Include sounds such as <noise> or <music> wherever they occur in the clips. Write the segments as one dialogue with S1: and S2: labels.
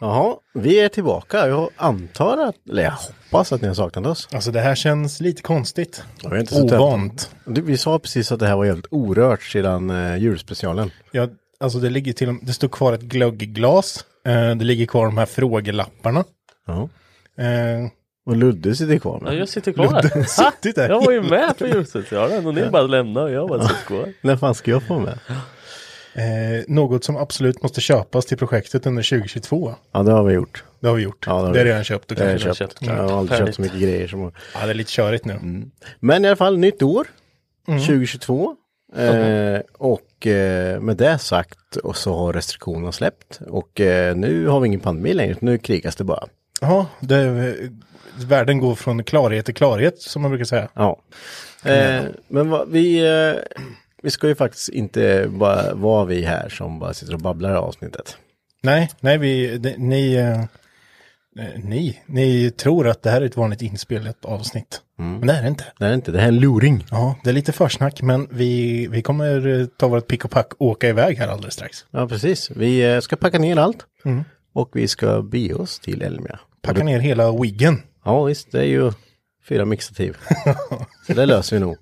S1: Jaha, vi är tillbaka. Jag antar att, eller jag hoppas att ni har saknat oss.
S2: Alltså det här känns lite konstigt.
S1: Jag är inte så trött.
S2: Ovant.
S1: Du, Vi sa precis att det här var jävligt orört sedan eh, julspecialen.
S2: Ja, alltså det ligger till det står kvar ett glöggglas. Eh, det ligger kvar de här frågelapparna.
S1: Ja.
S2: Eh,
S1: Och Ludde sitter kvar
S3: Ja,
S1: med.
S3: jag sitter kvar där. Ha!
S2: suttit där
S3: Jag var ju med på julsocialen och ni bara lämnade och jag bara sitter kvar.
S1: När fan ska jag få med?
S2: eh, något som absolut måste köpas till projektet under 2022.
S1: Ja, det har vi gjort.
S2: Det har vi gjort.
S1: Ja, det har
S2: det är
S1: vi. Eh.
S2: redan köpt. Och
S1: Det har
S2: kanske
S1: jag
S2: löst.
S1: köpt. Jag har aldrig köpt så mycket grejer som...
S2: Ja, det är lite körigt nu.
S1: Mm. Men i alla fall, nytt år. Mm. 2022. Eh, och eh, med det sagt och så har restriktionerna släppt. Och eh, nu har vi ingen pandemi längre, nu krigas det bara.
S2: Ja, det, världen går från klarhet till klarhet som man brukar säga.
S1: Ja. Eh, men vad, vi, eh, vi ska ju faktiskt inte bara vara vi här som bara sitter och babblar i avsnittet.
S2: Nej, nej, vi, de, ni, eh, eh, ni, ni tror att det här är ett vanligt inspelat avsnitt.
S1: Mm.
S2: Men det är det inte.
S1: Det är inte, det här är en luring.
S2: Ja, det är lite försnack, men vi, vi kommer eh, ta vårt pick och pack och åka iväg här alldeles strax.
S1: Ja, precis. Vi eh, ska packa ner allt och vi ska bege oss till Elmia.
S2: Packa ner hela wiggen.
S1: Ja, visst, det är ju fyra <laughs> mixativ. så det löser vi nog.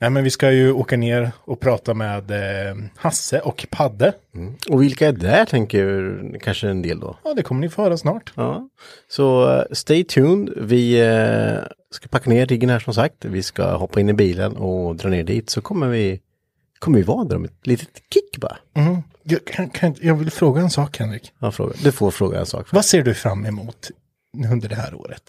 S2: Nej, men vi ska ju åka ner och prata med eh, Hasse och Padde.
S1: Mm. Och vilka är det, tänker kanske en del då.
S2: Ja, det kommer ni få höra snart.
S1: Ja. Så eh, stay tuned. Vi eh, ska packa ner riggen här som sagt. Vi ska hoppa in i bilen och dra ner dit. Så kommer vi, kommer vi vara där om ett litet kick bara.
S2: Jag, kan, kan, jag vill fråga en sak, Henrik.
S1: Jag frågar. Du får fråga en sak.
S2: Vad ser du fram emot under det här året?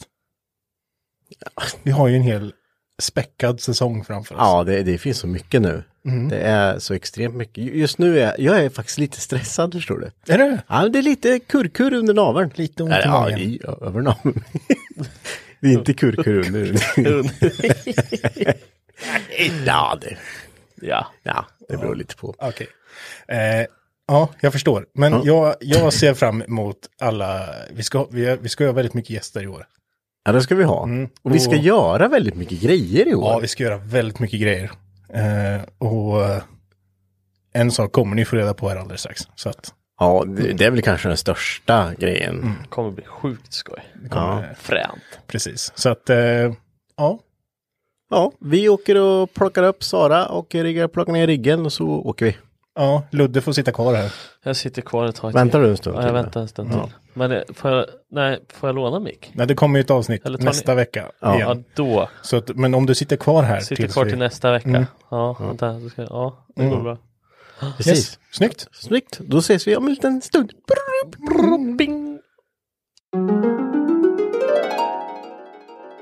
S2: Vi har ju en hel späckad säsong framför oss.
S1: Ja, det, det finns så mycket nu. Det är så extremt mycket. Ju- Just nu är jag är faktiskt lite stressad, förstår du.
S2: Är det?
S1: Ja, men det är lite kurkur under naveln.
S2: Lite ont i
S1: Eller, ja,
S2: magen.
S1: i, ö- över naveln. <laughs> det är inte kurkur <laughs> under. <laughs> ja, det,
S3: Ja,
S1: ja, det beror lite på.
S2: Okej. Eh, ja, jag förstår. Men jag, jag ser fram emot alla... Vi ska, vi, har- vi ska ha väldigt mycket gäster i år.
S1: Ja, det ska vi ha. Och vi ska
S2: Och-
S1: göra väldigt mycket grejer i år.
S2: Ja, vi ska göra väldigt mycket grejer. Eh, och eh, en sak kommer ni få reda på här alldeles strax. Så att
S1: Ja, det, det är väl kanske den största grejen.
S3: det kommer bli sjukt skoj.
S2: det kommer,
S3: Fränt.
S2: Precis. Så att, eh, ja.
S1: Ja, vi åker och plockar upp Sara och riggar, plockar ner riggen och så åker vi.
S2: ja, Ludde får sitta kvar här.
S3: Jag sitter kvar ett tag
S1: Väntar
S3: till.
S1: du en stund
S3: Ja, jag
S1: till?
S3: väntar en stund till. Men eh, får jag, nej, får jag låna mick?
S2: Nej, det kommer ju ett avsnitt
S3: Eller tar
S2: nästa
S3: ni-
S2: vecka.
S1: Ja.
S3: Ja,
S2: Igen.
S3: då.
S2: Så att, men om du sitter kvar här.
S3: Sitter
S2: tills
S3: kvar
S2: vi-
S3: till nästa vecka.
S2: Mm.
S3: Ja, vänta, då ska, ja, det går bra.
S1: Mm. Precis.
S2: Yes, snyggt.
S1: Snyggt, då ses vi om en liten stund.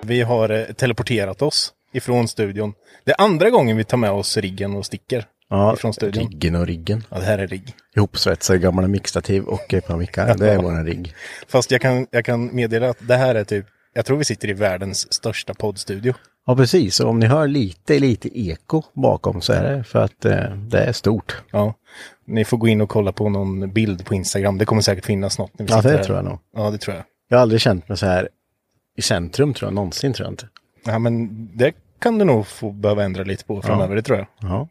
S2: Vi har eh, teleporterat oss ifrån studion. Det är andra gången vi tar med oss riggen och sticker
S1: Ja,
S2: ifrån studion.
S1: riggen och riggen.
S2: Ja, det här är rigg.
S1: Ihopsvetsade gamla mixtativ och eh, pannmickar. Det är
S2: Ja.
S1: våran rigg.
S2: Fast jag kan, jag kan meddela att det här är typ, jag tror vi sitter i världens största poddstudio.
S1: Ja, precis. Och om ni hör lite, lite eko bakom så är det för att eh, det är stort.
S2: Ja, ni får gå in och kolla på någon bild på Instagram. Det kommer säkert finnas något. När vi
S1: Ja,
S2: sitter
S1: det
S2: här.
S1: tror jag nog.
S2: Ja, det tror jag.
S1: Jag har aldrig känt mig så här i centrum tror jag någonsin, tror jag inte.
S2: Ja, men det kan du nog få behöva ändra lite på framöver, det tror jag.
S1: Ja.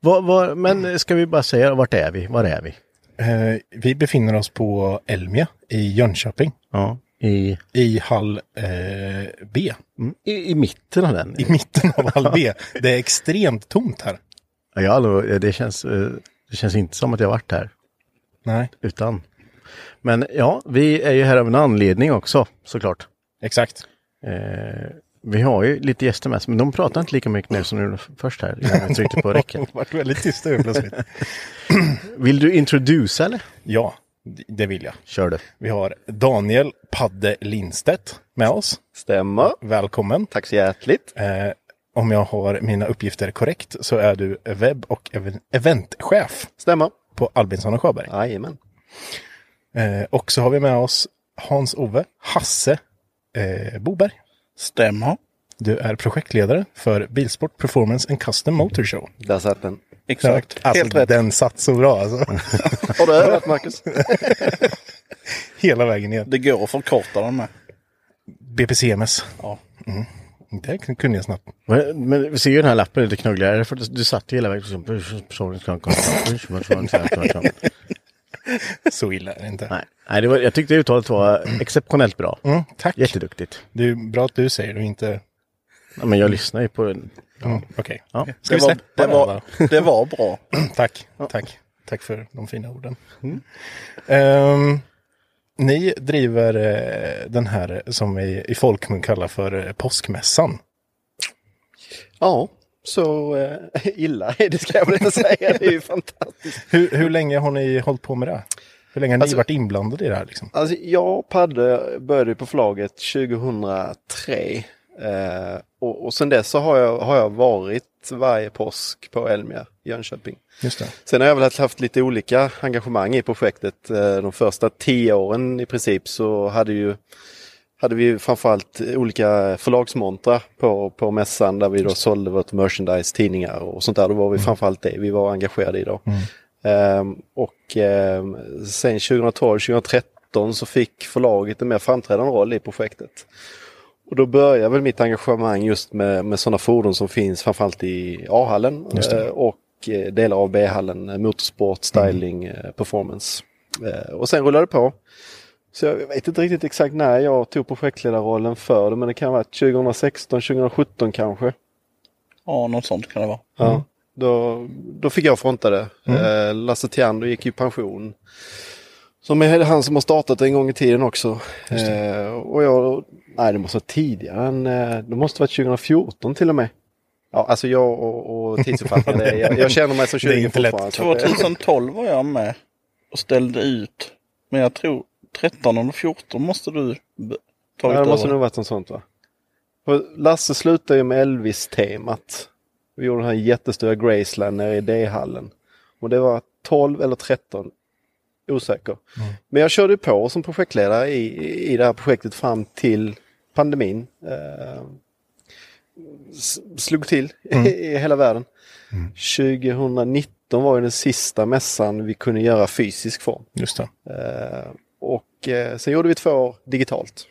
S1: Vad- vad- men ska vi bara säga, vart är vi? Var är vi?
S2: Eh, vi befinner oss på Elmia i Jönköping,
S1: Ja, i,
S2: i hall eh, B. <laughs>
S1: i, i mitten av den.
S2: I mitten av hall B. Det är extremt tomt här.
S1: Ja, jag har aldrig- det, känns, eh, det känns inte som att jag har varit här
S2: Nej,
S1: utan. Men ja, vi är ju här av en anledning också, såklart.
S2: exakt.
S1: Eh, vi har ju lite gäster med oss, men de pratar inte lika mycket nu som de gjorde f- först här. innan vi tryckte på räcket.
S2: <laughs> Det vart väldigt tyst där plötsligt.
S1: Vill du introducera eller?
S2: Ja, d- det vill jag.
S1: Kör du.
S2: Vi har Daniel Padde Lindstedt med oss.
S4: Stämma.
S2: Välkommen.
S4: Tack så hjärtligt.
S2: Eh, om jag har mina uppgifter korrekt så är du webb och ev- eventchef
S4: Stämma.
S2: på Albinsson och Sjöberg.
S4: Jajamän.
S2: Eh, och så har vi med oss Hans-Ove Hasse eh, Boberg.
S5: Stämma.
S2: Du är projektledare för Bilsport Performance and Custom Motor Show.
S4: Där satt den.
S5: Exakt.
S2: Alltså,
S5: Helt rätt.
S2: Den satt så bra alltså.
S4: Har du övat Marcus?
S2: Hela vägen ner.
S5: Det går att förkorta den med.
S2: BPCMS. Ja. Mm. Det kun- kunde jag snabbt.
S1: Men, men vi ser ju den här lappen lite knuggligare, för du satt ju hela vägen som personen ska komma.
S2: Så illa är det inte.
S1: Nej, Nej det var, jag tyckte uttalet var exceptionellt bra.
S2: Mm, tack.
S1: Jätteduktigt.
S2: Det är bra att du säger det och inte...
S1: Ja, men jag lyssnar ju på den.
S2: Mm, Okej.
S1: Ja.
S2: Ska
S5: Det
S2: vi
S5: var,
S2: släppa
S5: det,
S2: den då? Mm,
S5: var, det var bra.
S2: Tack, tack. Tack för de fina orden. Ehm, ni driver eh, den här som vi i folkmun kallar för eh, påskmässan.
S4: Ja, så eh, illa är det ska jag väl inte säga.
S2: <laughs>
S4: Det är ju fantastiskt.
S2: Hur, hur länge har ni hållit på med det? här? Hur länge har
S4: Alltså-
S2: ni varit inblandade i det här? Liksom?
S4: Alltså, jag och Padde började på förlaget 2003. Eh, och, och sedan dess så har jag, har jag varit varje påsk på Elmia, Jönköping.
S2: Just det.
S4: Sen har jag väl haft- haft lite olika engagemang i projektet. Eh, De första tio åren i princip så hade, ju, hade vi ju framförallt olika förlagsmontrar på, på mässan där vi då sålde vårt merchandise, tidningar och sånt där. Då var vi
S2: Mm.
S4: framförallt det vi var engagerade i då. Ehm, och ehm, sen 2012-2013 så fick förlaget en mer framträdande roll i projektet. Och då börjar väl mitt engagemang just med, med sådana fordon som finns framförallt i A-hallen eh, och eh, delar av B-hallen, eh, motorsport, styling, eh, performance. Eh, Och sen rullade det på. Så jag vet inte riktigt exakt när jag tog projektledarrollen för det men det kan ha varit 2016, 2017 kanske.
S5: Ja, något sånt kan det vara.
S4: Ja. Då, då fick jag fronta det. Eh, Lasse Theander gick i pension. Som är han som har startat en gång i tiden också. Eh, och jag, nej det måste vara tidigare än, eh, det måste vara 2014 till och med. Ja, alltså jag och, och
S2: <laughs>
S4: tidsuppfattningen, är- jag, jag känner mig som
S2: Det är
S4: 20
S2: inte lätt.
S4: fortfarande. så att det-
S5: 2012 var jag med och ställde ut. Men jag tror 13 eller 14 måste du b- tagit
S4: Ja, det måste
S5: över.
S4: nog varit något sånt va? Och Lasse slutade ju med Elvis-temat. Vi gjorde den här jättestora Graceland nere i D-hallen. Och det var 12 eller 13. Osäker.
S2: Mm.
S4: Men jag körde ju på som projektledare i, i det här projektet fram till pandemin. Eh, s- slog till
S2: Mm.
S4: <laughs> i hela världen. 2019 var ju den sista mässan vi kunde göra fysisk form.
S2: Just det.
S4: Eh, och eh, sen gjorde vi två år digitalt.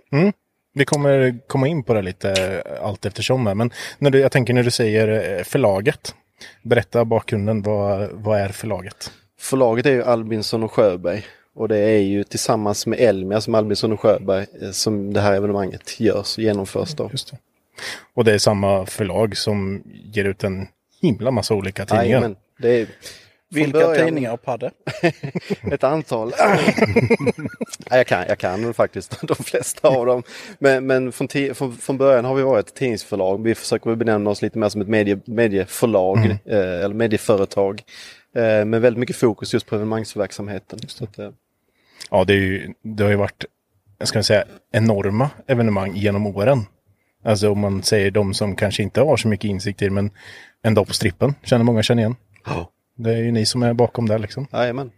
S2: Vi kommer komma in på det lite eh, allt eftersom. Här, men när du, jag tänker när du säger eh, förlaget. Berätta bakgrunden. Vad, vad är förlaget?
S4: Förlaget är ju Albinsson och Sjöberg. Och det är ju tillsammans med Elmia som Albinsson och Sjöberg eh, som det här evenemanget görs och genomförs då.
S2: Just det. Och det är samma förlag som ger ut en himla massa olika tidningar.
S4: Jajamän, det är
S5: Vilka
S4: början.
S5: tidningar Padde?
S4: ett antal. <laughs> Nej, jag, kan, jag kan faktiskt <laughs> de flesta av dem. Men, men från, ti- från, från början har vi varit ett tidningsförlag. Vi försöker väl benämna oss lite mer som ett medie, medieförlag
S1: Mm.
S4: eh, eller medieföretag. Eh, med väldigt mycket fokus just på evenemangsverksamheten. Så att, eh,
S2: Ja, det, är ju, det har ju varit, jag ska säga, enorma evenemang genom åren. Alltså om man säger de som kanske inte har så mycket insikt i det, men en dag på strippen känner många känner igen.
S4: Ja.
S2: Det är ju ni som är bakom där liksom.
S4: Jajamän.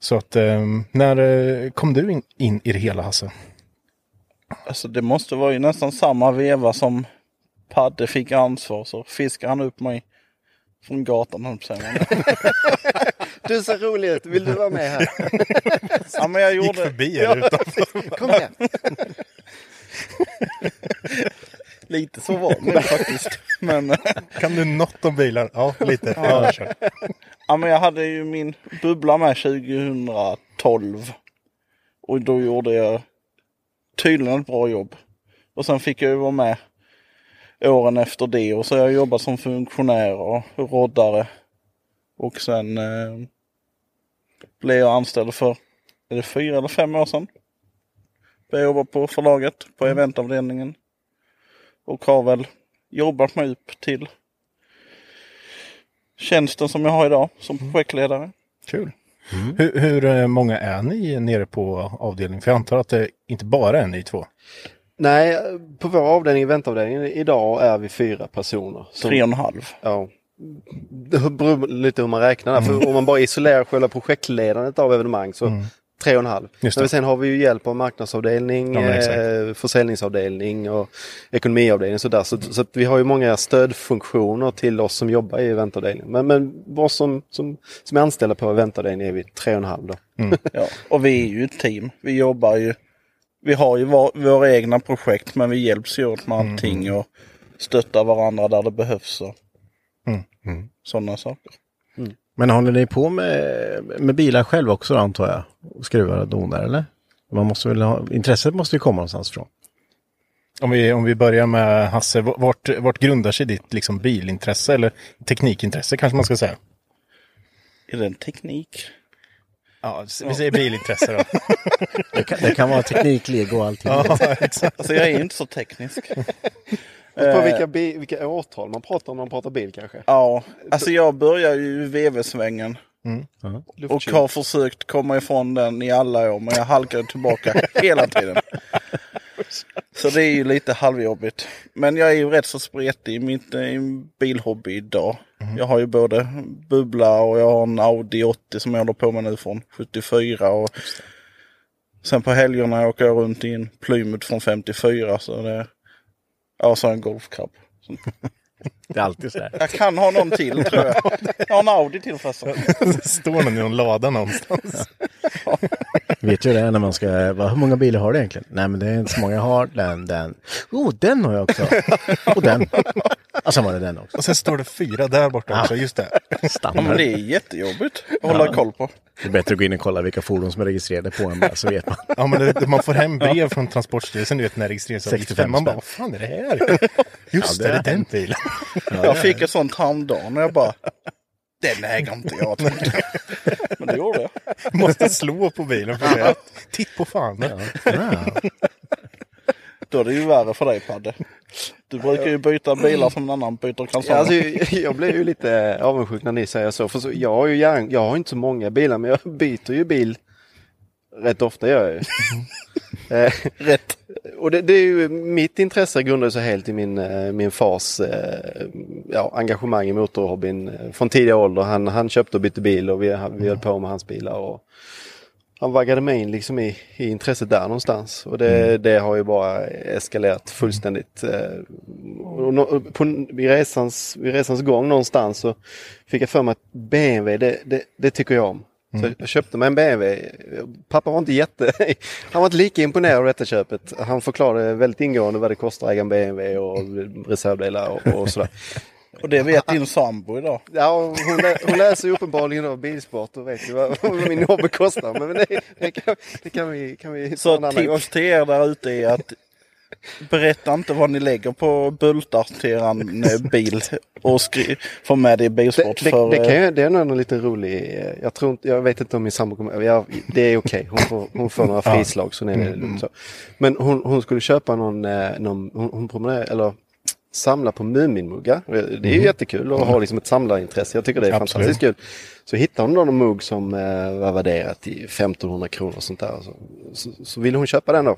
S2: Så att eh, när eh, kom du in, in i det hela Hasse?
S5: Alltså det måste vara ju nästan samma veva som Padde fick ansvar så fiskade han upp mig från gatan höll jag
S2: <laughs>
S5: på att säga.
S4: Du ser rolig ut, vill du vara med här?
S5: ja, men jag
S2: Gick
S5: gjorde,
S2: förbi er utanför.
S4: Kom här.
S5: Lite så var det faktiskt. Men,
S2: Kan du något om bilar? Ja, lite. Ja, kör.
S5: ja, men jag hade ju min bubbla med 2012. Och då gjorde jag tydligen ett bra jobb. Och sen fick jag ju vara med åren efter det. Och så har jag jobbat som funktionär och roddare. Och sen eh, blev jag anställd för, är det fyra eller fem år sedan? Började jobba på förlaget, på
S4: Mm.
S5: eventavdelningen. Och har väl jobbat mig upp till tjänsten som jag har idag som projektledare.
S2: Kul. Hur, hur eh, många är ni nere på avdelningen? För jag antar att det inte bara är ni två.
S4: Nej, på vår avdelning, eventavdelningen, idag är vi fyra personer. som-
S5: Tre och en halv.
S4: Ja. Det beror lite hur man räknar. där.
S2: Mm.
S4: För om man bara isolerar själva projektledandet av evenemang så tre och en halv.
S2: Just det.
S4: Men sen har vi ju hjälp av marknadsavdelning,
S2: Ja, men exakt.
S4: eh, försäljningsavdelning och ekonomiavdelning. Så, där. så, så att vi har ju många stödfunktioner till oss som jobbar i eventavdelningen. Men, men vad som, som, som är anställda på eventavdelningen är vi tre och en halv. Då.
S2: Mm.
S4: <laughs>
S5: Ja, och vi är ju ett team. Vi jobbar ju. Vi har ju var, våra egna projekt men vi hjälps ju åt med
S2: Mm.
S5: allting och stöttar varandra där det behövs. Och Sådana saker.
S1: Men håller ni på med, med bilar själv också antar jag? Och skruvar och donar eller? Man måste väl ha, intresset måste ju komma någonstans ifrån.
S2: Om vi, om vi börjar med Hasse, v- vart, vart grundar sig ditt liksom, bilintresse eller teknikintresse kanske man ska säga?
S5: Är det en teknik?
S2: Ja, s- vi säger bilintresse då.
S1: <laughs> Det kan, det kan vara teknik, lego och allting.
S5: Alltså jag är ju inte så teknisk.
S4: Och på vilka, bi- vilka årtal man pratar om när man pratar bil kanske?
S5: Ja, alltså jag börjar ju i VV-svängen och
S4: Luftkyl.
S5: har försökt komma ifrån den i alla år men jag halkar tillbaka <laughs> hela tiden. Så det är ju lite halvjobbigt. Men jag är ju rätt så spretig i mitt eh, bilhobby idag. Jag har ju både bubbla och jag har en Audi 80 som jag håller på med nu från 74. Och sen på helgerna åker jag runt i en Plymouth från 54. Så det... Ja, så har jag en golfcab.
S1: Det är alltid så här.
S5: Jag kan ha någon till tror <laughs> jag. Jag har en Audi
S2: <laughs>
S5: till förresten.
S2: Står den i någon lada någonstans?
S1: Vet ju det när man ska, vad, hur många bilar har du egentligen? Nej men det är inte så många jag har. Den, den. Oh, den har jag också. Och den. Och sen var det den också.
S2: Och sen står det fyra där borta
S5: Ah.
S2: också, just det.
S5: Ja, men
S1: Standard.
S5: det är jättejobbigt att hålla koll på.
S1: Det är bättre att gå in och kolla vilka fordon som är registrerade på en bara, så vet man.
S2: Ja, men det, man får hem brev från Transportstyrelsen, du vet, när registreringsavgiften.
S1: 65
S2: Man bara,
S1: spänn.
S2: vad fan är det här? Just
S1: Ja,
S2: det,
S1: det
S2: det
S1: är-
S2: är den bilen.
S5: Jag fick ett sånt häromdagen och jag bara, den äger inte jag. tänkte
S2: <laughs>
S5: jag. Men det gjorde jag.
S2: Måste slå på bilen för det. Titt på fan.
S1: Ja.
S5: Då är det ju värre för dig Padde. Du brukar ju byta bilar som en annan byter
S4: Ja,
S5: kalsonger.
S4: alltså, jag- jag blir ju lite avundsjuk när ni säger så. För så jag, har ju gärna, jag har inte så många bilar men jag byter ju bil rätt ofta. Gör jag ju. Eh, rätt. Och det, det är ju, mitt intresse grundar sig helt i min, eh, min fars eh, ja, engagemang i motorhobbyn eh, från tidig ålder. Han, han köpte och bytte bil och vi, han- vi höll på med hans bilar. Och han vaggade mig in liksom i, i intresset där någonstans. Och det, det har ju bara eskalerat fullständigt. eh, Och no, och på, vid, resans, vid resans gång någonstans så fick jag för mig att BMW, det, det, det tycker jag om. Så jag köpte mig en BMW. Pappa var inte jätte... Han var inte lika imponerad av detta köpet. Han förklarade väldigt ingående vad det kostar att äga en BMW och reservdelar och, och sådär.
S5: Och det vet din sambo idag.
S4: Ja, hon, lä- hon läser ju uppenbarligen av bilsport och vet ju vad, vad min hobby kostar. Men det, det, kan, det kan vi, kan vi ta en
S5: Så
S4: annan gång.
S5: tips till er där ute är att berätta inte vad ni lägger på bultar till eran eh, bil och skri- få med det i bilsport.
S4: Det, det,
S5: för,
S4: det,
S5: eh,
S4: kan ju, det är nog en liten rolig... eh, Jag, tror inte, jag vet inte om min sambo kommer... Jag, det är okej, hon, får, hon får
S2: <laughs>
S4: några frislag så det
S2: Mm,
S4: är lugnt. Så. Men hon, hon skulle köpa någon... eh, någon hon, hon promenerar, eller samla på Muminmuggar. Eh, Det är ju jättekul att ha liksom ett samlarintresse. Jag tycker det är
S2: Mm. Absolut.
S4: fantastiskt kul. Så hittade hon då någon mugg som eh, var värderat till 1500 kronor och sånt där. Så, så, så ville hon köpa den då.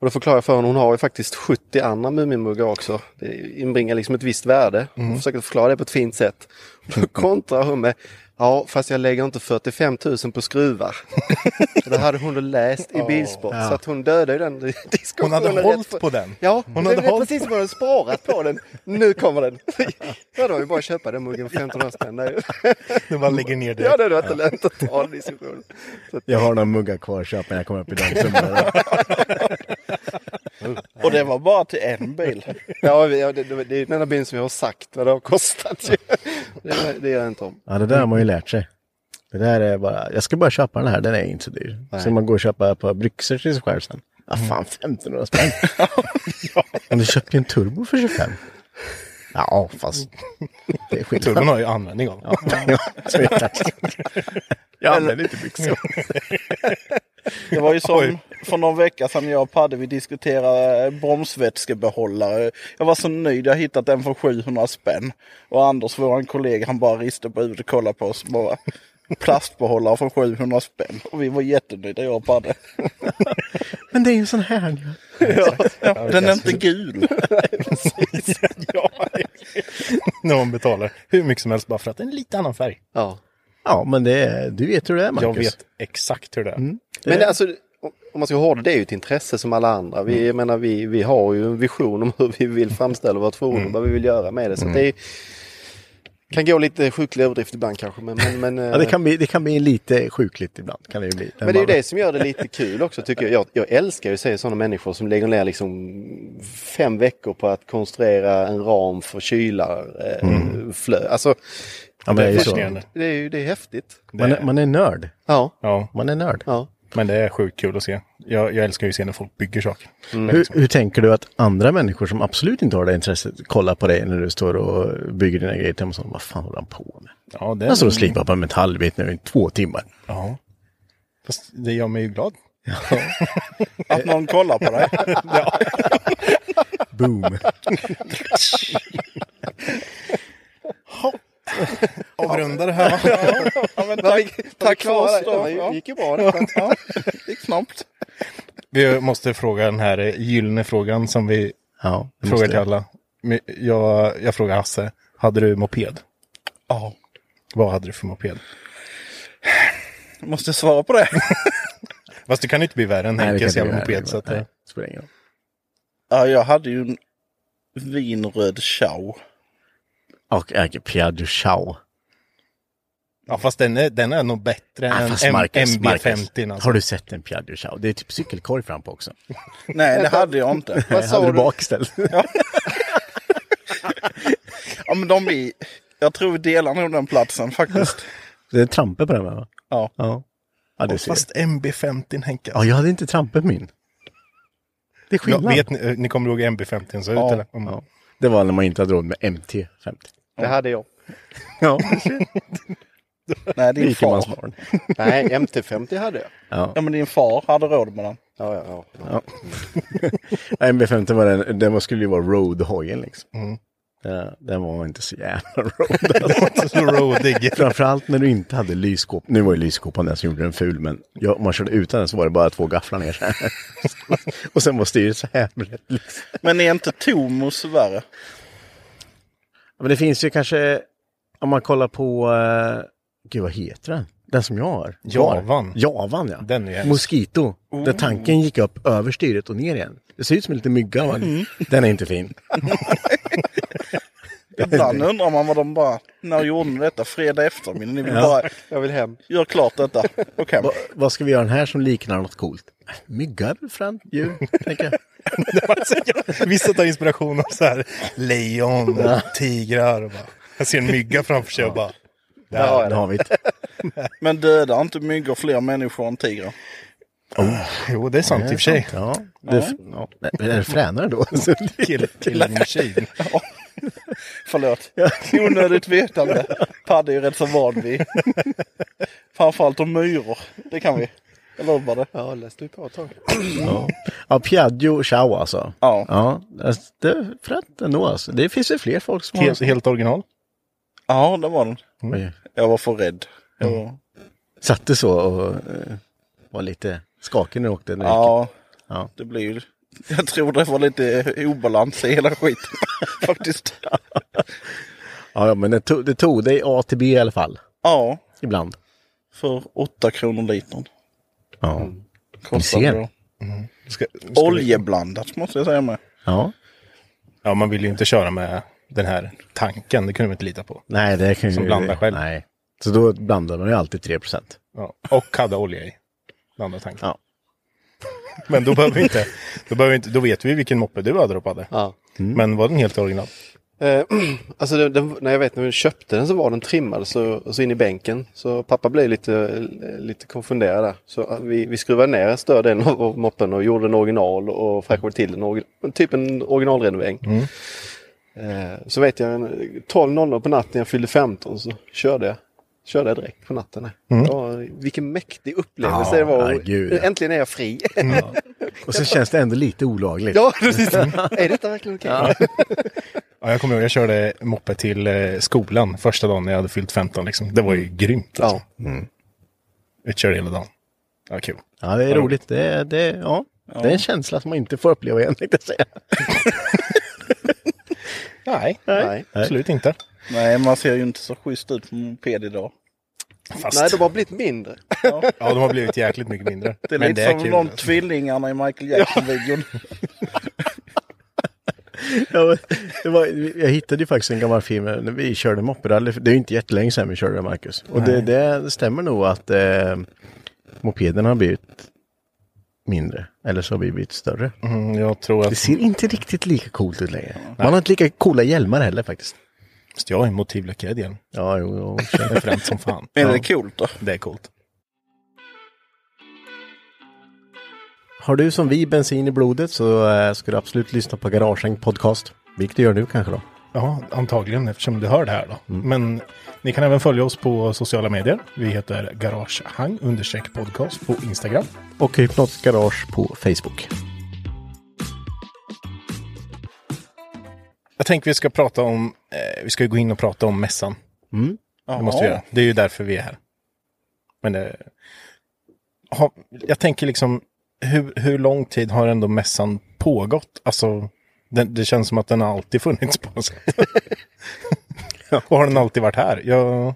S4: Och då förklarar jag för henne, hon har ju faktiskt 70 andra Muminmuggar också. Det inbringar liksom ett visst värde.
S5: Mm.
S4: Hon försöker förklara det på ett fint sätt. <laughs> Och då kontrar hon med, ja fast jag lägger inte 45 000 på skruvar. Och det hade hon då läst i Bilsport. Så att hon dödade ju den diskussionen. rätt
S2: hållit
S4: fort.
S2: på den.
S4: Ja,
S2: Hon
S4: hon hade
S2: hade
S4: vet
S2: hållit
S4: precis vad hon sparat på den. Nu kommer
S2: <laughs>
S4: den. Ja, det var ju bara att köpa den muggen för 1500 spänn. Nej.
S2: Nu bara lägger ner det.
S4: Ja, det hade varit lönt att ta en diskussion. Så att-
S1: Jag har några muggar kvar att köpa när jag kommer upp i den
S5: <laughs>
S1: summan.
S5: Och det var bara till en bil.
S4: Ja, vi- ja, det, det, det är den enda bilen som jag har sagt vad det har kostat. Ju. Det, det gör jag inte om.
S1: Ja, det där har man ju lärt sig. Det där är bara, jag ska bara köpa den här, den är inte så dyr. Så man går och köper ett par byxor till sig själv sen. Ja,
S5: Mm.
S1: fan, 1500
S5: <laughs>
S1: spänn. Men du köpte ju en turbo för 25. Ja, fast det är skillnad.
S2: Turbon har ju användning av.
S1: Ja, så är det. Jag använder inte byxor.
S5: Det var ju som för någon vecka sedan jag och Padde, vi diskuterade eh, bromsvätskebehållare. <laughs> Jag var så nöjd, jag har hittat en för 700 spänn. Och Anders, vår kollega, han bara ristade på huvudet och kollade på oss. Bara, plastbehållare för 700 spänn. Och vi var jättenöjda, jag och Padde.
S1: Men det är ju en sån här.
S5: Den är
S2: <laughs>
S5: inte gul.
S2: ja, När man betalar hur mycket som helst bara för att det är en lite annan färg.
S4: Ja.
S1: Ja, men det är, du vet hur det är, Marcus.
S2: Jag vet exakt hur det är.
S4: Men det, alltså, om- om man ska ha det, det är ju ett intresse som alla andra. Vi,
S5: Mm.
S4: jag menar, vi, vi har ju en vision om hur vi vill framställa vårt fordon, vad vi vill göra med det. Så att det är, kan gå lite sjuklig överdrift ibland kanske. Men, men, men,
S1: Ja, det, kan bli, det kan bli lite sjukligt ibland. Kan det ju bli.
S4: Men det är ju det som gör det lite kul också tycker jag. Jag, jag älskar ju att se sådana människor som lägger ner liksom fem veckor på att konstruera en ram för kylarflöde. Eh, flö- Alltså,
S1: Ja, men det är ju så.
S2: Fascinerande.
S4: det är ju det är häftigt.
S1: Man, är- man är nörd.
S4: Ja,
S2: Ja,
S1: Man är nörd.
S4: ja.
S2: men det är sjukt kul att se. Jag, jag älskar ju att se när folk bygger saker.
S1: Hur, hur tänker du att andra människor som absolut inte har det intresset kollar på dig när du står och bygger dina grejer hemma? och sånt, Vad fan håller han på med?
S2: Ja, det
S1: Han står och slipar på en metallbit nu i två timmar.
S2: Ja. Fast det gör mig ju glad. <laughs>
S5: Att någon kollar på dig.
S2: <laughs>
S1: Boom!
S2: Avrunda det här.
S5: Ja, men
S4: Vad
S5: tack,
S4: vi- vad vi
S5: tack för oss
S4: klarade-
S5: då.
S4: ja, Det
S5: Ja,
S4: gick ju bra.
S2: <laughs>
S4: Det skönt.
S5: ja, gick snabbt.
S2: Vi måste fråga den här eh, gyllene frågan som vi
S1: Ja, det
S2: frågar
S1: måste
S2: till
S1: jag.
S2: alla. Men Jag, jag frågar Hasse, hade du moped?
S5: Ja,
S2: Vad hade du för moped?
S5: jag måste svara på det.
S2: <laughs> Fast det kan ju inte bli värre än
S1: Nej, det kan
S2: Henkes
S1: inte
S2: jävla
S1: bli värre.
S2: moped. Så att,
S1: Nej,
S2: eh,
S1: det spelar ingen roll.
S5: Ja, jag hade ju en vinröd chow.
S1: Och äger Pierre Duchau.
S2: ja, fast den är, den är nog bättre
S1: Ah,
S2: än
S1: fast
S2: M-
S1: Marcus,
S2: MB50.
S1: Marcus, har
S2: Alltså.
S1: du sett en Pierre Duchau? Det är typ cykelkorg fram på också.
S5: <laughs> Nej, det hade jag
S1: <laughs>
S5: inte.
S4: Vad
S1: Nej, hade
S4: sa
S1: du
S4: du?
S1: bak
S5: <laughs>
S1: istället?
S5: Ja, men de är... Jag tror vi delar nog den platsen faktiskt.
S1: <laughs> det är trampe på den va?
S5: Ja.
S1: Ja, ja du ser.
S2: Fast MB50 Henke.
S1: Ja, jag hade inte trampe på min. Det
S2: Ja,
S1: är skillnad.
S2: vet ni, eh, ni kommer ihåg hur MB50 såg ut
S1: Ja,
S2: eller? Mm. <laughs>
S1: ja. Det var när man inte hade råd med MT50.
S4: Det hade jag.
S1: Ja,
S5: <laughs> Nej, din far.
S1: rikemansbarn.
S4: Nej, MT50 hade jag.
S5: Ja, men din far hade råd med den.
S4: Ja, ja, ja.
S1: <laughs> MB50 var den, den var- skulle ju vara roadhojen liksom.
S2: Mm.
S1: Ja, den var inte så jävla road. Alltså. <laughs>
S2: Så rodig.
S1: Framförallt när du inte hade lyskåp. Nu var ju lyskåpan den som gjorde den ful, men ja, om man körde utan den så var det bara två gafflar ner så här. <laughs> Och sen var styret så här. brett, Liksom.
S5: Men är inte Tomos värre?
S1: Ja, Men det finns ju kanske, om man kollar på, uh, gud vad heter den? Den som jag har.
S2: Javan.
S1: Javan ja.
S2: Den är Oh. hemsk.
S1: Mosquito. Där tanken gick upp över styret och ner igen. Det ser ut som en liten mygga. va?
S2: Mm.
S1: Den är inte fin. <laughs>
S5: Ibland undrar man vad de bara... När gjorde ni detta? Fredag eftermiddag? Ni vill bara...
S4: Jag vill hem.
S5: Gör klart detta. Och hem.
S1: Va, vad ska vi göra den här som liknar något coolt? Mygga är väl fränt djur, tänker
S5: <laughs>
S1: jag.
S2: Vissa tar inspiration av så här lejon, och tigrar och bara. Jag ser en mygga framför sig och bara.
S4: Där har jag
S1: Där
S4: det.
S1: har vi det.
S5: Men dödar inte myggor fler människor än tigrar?
S2: Jo, det är sant i och för sig.
S1: Ja, det, ja. men är det fränare
S5: <laughs>
S1: då? Så det-
S2: Kill, killing machine.
S5: Förlåt. Onödigt vetande. Padde är ju rätt så van vid. Framförallt om myror. Det kan vi. Jag lovar det.
S4: Ja, läste du på ett tag.
S1: Ja, ja Piaggio Ciao alltså.
S5: Ja.
S1: ja alltså, det är fränt ändå alltså. Det finns ju fler folk som har
S2: Helt, helt original.
S5: Ja, det var den.
S1: Oj.
S5: Jag var för rädd. Jag var...
S2: Mm.
S1: Satt du så och eh, var lite skakig när du åkte? När du gick?
S5: Ja,
S1: Ja.
S5: det blir ju Jag tror det var lite obalans i hela skiten <laughs> faktiskt.
S1: Ja, ja, men det tog, det tog dig A till B i alla fall.
S5: Ja,
S1: Ibland.
S5: för 8 kronor litern.
S1: Ja.
S5: Kostar
S1: Ni
S5: det
S1: ser.
S5: då.
S2: Ska, ska
S5: Oljeblandat måste jag säga med.
S1: ja.
S2: Ja, man vill ju inte köra med den här tanken. Det kunde man inte lita på.
S1: Nej, det kan ju...
S2: Som blandar själv.
S1: Nej. Så då blandar man ju alltid 3 procent.
S2: Ja. Och hade olja i. Den andra tanken.
S1: Ja.
S2: <laughs> Men då behöver vi inte, då behöver vi inte, då vet vi vilken moppe du hade droppade.
S4: Ja.
S2: Men var den helt original?
S4: Eh, alltså den, den, när jag vet när vi köpte den så var den trimmad så, så in i bänken. Så pappa blev lite, lite konfunderad där. Så att vi, vi skruvade ner en större del av av moppen och gjorde en original och fräschade till den. origi- Typ en originalrenovering. Eh, så vet jag en- 12.00 på natten när jag fyllde 15 så körde jag. Körde jag direkt på natten. Det var, vilken mäktig upplevelse
S1: Mm. Ja,
S4: det var.
S1: herregud, ja.
S4: Äntligen är jag fri.
S1: Och så känns det ändå lite olagligt.
S4: ja, precis. är detta verkligen okej?
S2: Ja, jag kommer ihåg, jag körde moppe till eh, skolan första dagen när jag hade fyllt 15. Liksom. Det var ju grymt. Alltså.
S4: Mm. Ja.
S2: Vi körde hela dagen. Ja, kul.
S1: Ja, det är roligt. Det, är- det, är- ja. det är en känsla som man inte får uppleva igen, <laughs> tänkte jag säga.
S2: Nej,
S4: Nej.
S2: absolut inte.
S5: Nej, man ser ju inte så schysst ut på moped idag.
S2: Fast,
S4: Nej, de har blivit mindre.
S2: ja, de har blivit jäkligt mycket mindre.
S5: Det är lite som de tvillingarna i Michael Jackson-videon.
S1: Ja, men det var, jag hittade ju faktiskt en gammal film när vi körde mopperally. Det är ju inte jättelänge sedan vi körde, Marcus. Och det, det stämmer nog att eh, mopederna har blivit mindre. Eller så har vi blivit större.
S2: Mm, jag tror
S1: Det
S2: att
S1: ser inte riktigt lika coolt ut längre. Man har inte lika coola hjälmar heller faktiskt.
S2: Just, jag är motivläckare igen.
S1: Ja, jo, jo.
S2: Det är fränt som fan.
S5: Är
S2: Ja,
S5: det coolt då?
S2: det är coolt.
S1: Har du som vi bensin i blodet så eh, ska du absolut lyssna på Garagehäng podcast. Vilket du gör nu kanske då.
S2: Ja, antagligen eftersom du hör det här då. Men ni kan även följa oss på sociala medier. Vi heter Garagehang understreck podcast på Instagram.
S1: Och Hypnotiskt Garage på Facebook.
S2: Jag tänker vi ska prata om, eh, vi ska ju gå in och prata om mässan.
S1: Mm.
S2: Det måste vi göra. Det är ju därför vi är här. Men det, ha, jag tänker liksom, hur, hur lång tid har ändå mässan pågått? Alltså, den, det känns som att den har alltid funnits på oss.
S1: <laughs>
S2: och har den alltid varit här? Jag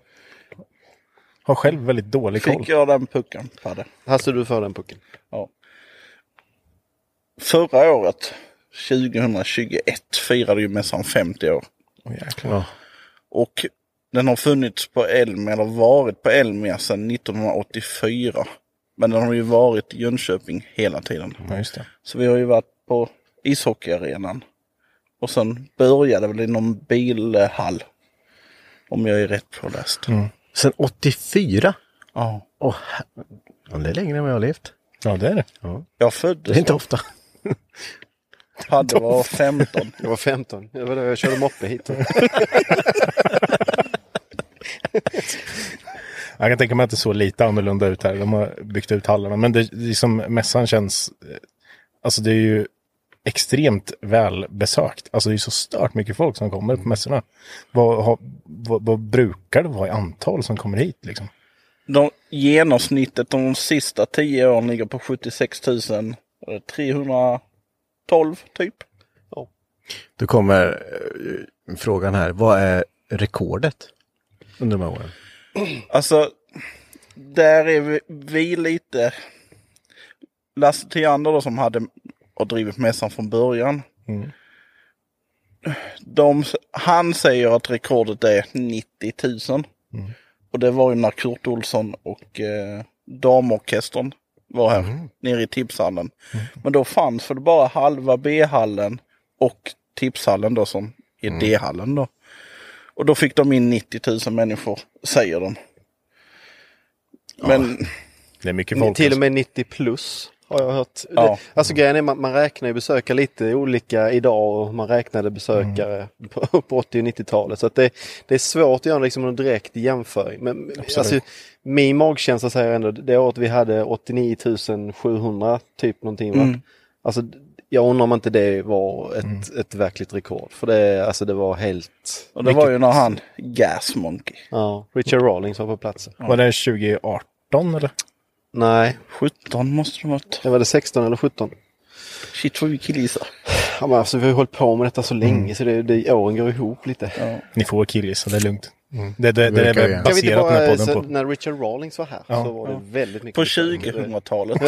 S2: har själv väldigt dålig koll.
S5: Fick jag den pucken, Padde?
S4: Hasse, du för den pucken.
S5: Ja. Förra året, 2021, firade ju mässan 50 år.
S2: Åh, jäklar.
S1: Ja.
S5: Och den har funnits på Elmia, eller varit på Elmia sedan 1984. Men den har ju varit i Jönköping hela tiden.
S2: Ja, just det.
S5: Så vi har ju varit på ishockeyarenan. Och sen började väl i någon bilhall. Om jag är rätt påläst.
S1: Mm. Sen 84.
S5: Ja.
S1: Åh, her- ja, det är längre än vad jag har levt.
S2: Ja, det är det.
S5: Jag
S1: Det är
S5: föddes,
S1: inte ofta.
S5: <laughs> hade var 15.
S4: Jag var 15. Det var då jag körde moppe hit.
S5: <laughs>
S2: Jag kan tänka mig att det såg lite annorlunda ut här. De har byggt ut hallarna. Men det, det är som mässan känns... eh, Alltså det är ju extremt välbesökt. Alltså det är så stört mycket folk som kommer på mässorna. Vad, har- vad, vad brukar det vara i antal som kommer hit liksom?
S5: De, genomsnittet de sista 10 åren ligger på 76 000. eh, 312 typ.
S1: Då kommer eh, frågan här. Vad är rekordet under de här åren?
S5: Alltså, där är vi, vi lite... Lasse Theander då som hade och drivit mässan från början.
S2: Mm.
S5: De, han säger att rekordet är 90 000.
S1: Mm.
S5: Och det var ju när Kurt Olsson och eh, damorkestern var här nere i tipshallen. Men då fanns väl bara halva B-hallen och tipshallen då som är D-hallen då. Och då fick de in 90 000 människor, säger de. Men
S2: Det är mycket folk.
S4: Till och med 90 plus har jag hört.
S5: Ja.
S4: Det, alltså grejen är man, man räknar ju besökare lite olika idag och man räknade besökare
S5: Mm.
S4: på, <laughs> på 80 och 90-talet. Så att det, det är svårt att göra liksom någon direkt jämföring. Men alltså, min magkänsla säger ändå det året vi hade 89 700 typ någonting. Va?
S5: Mm.
S4: Alltså, jag undrar om inte det var ett, ett verkligt rekord. För det, alltså, det var helt...
S5: och det var ju när han, Gas Monkey.
S4: Ja, Richard Rawlings var på platsen.
S2: Var det 2018 eller?
S4: Nej,
S5: 17 måste det varit.
S4: det var det 16 eller 17.
S5: Shit vad vi killisar.
S4: Ja, men alltså, vi har ju hållit på med detta så länge
S1: Mm.
S4: så det, det, åren går ihop lite.
S2: Ni får killis, så det är lugnt. Det, det, det,
S1: Verkar
S2: är
S1: ju.
S2: väl
S4: Jag vet inte
S2: baserat den här
S4: bara, eh,
S2: podden
S4: så,
S2: på.
S4: när Richard Rawlings var här så var det väldigt mycket.
S5: På
S4: diskussion.
S5: 2000-talet.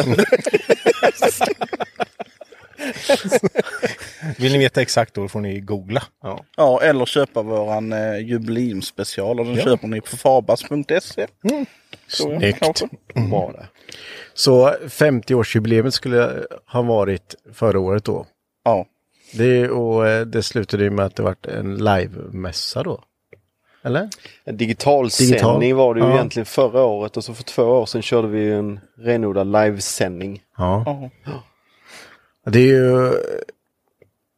S2: Vill ni veta exakt då får ni googla.
S5: ja, eller köpa våran eh, jubileumspecial och den köper ni på fabas.se. Tror jag, kanske.
S4: Bra det.
S1: Så 50-årsjubileet skulle ha varit förra året då.
S5: Ja.
S1: Det, och eh, det slutade ju med att det vart en livemässa då. Eller?
S4: En
S1: Digital.
S4: digital, sändning var det ju
S1: Ja.
S4: egentligen förra året och så för två år sedan körde vi ju en renodlad livesändning.
S1: Ja.
S5: Ja.
S1: Det är ju... eh,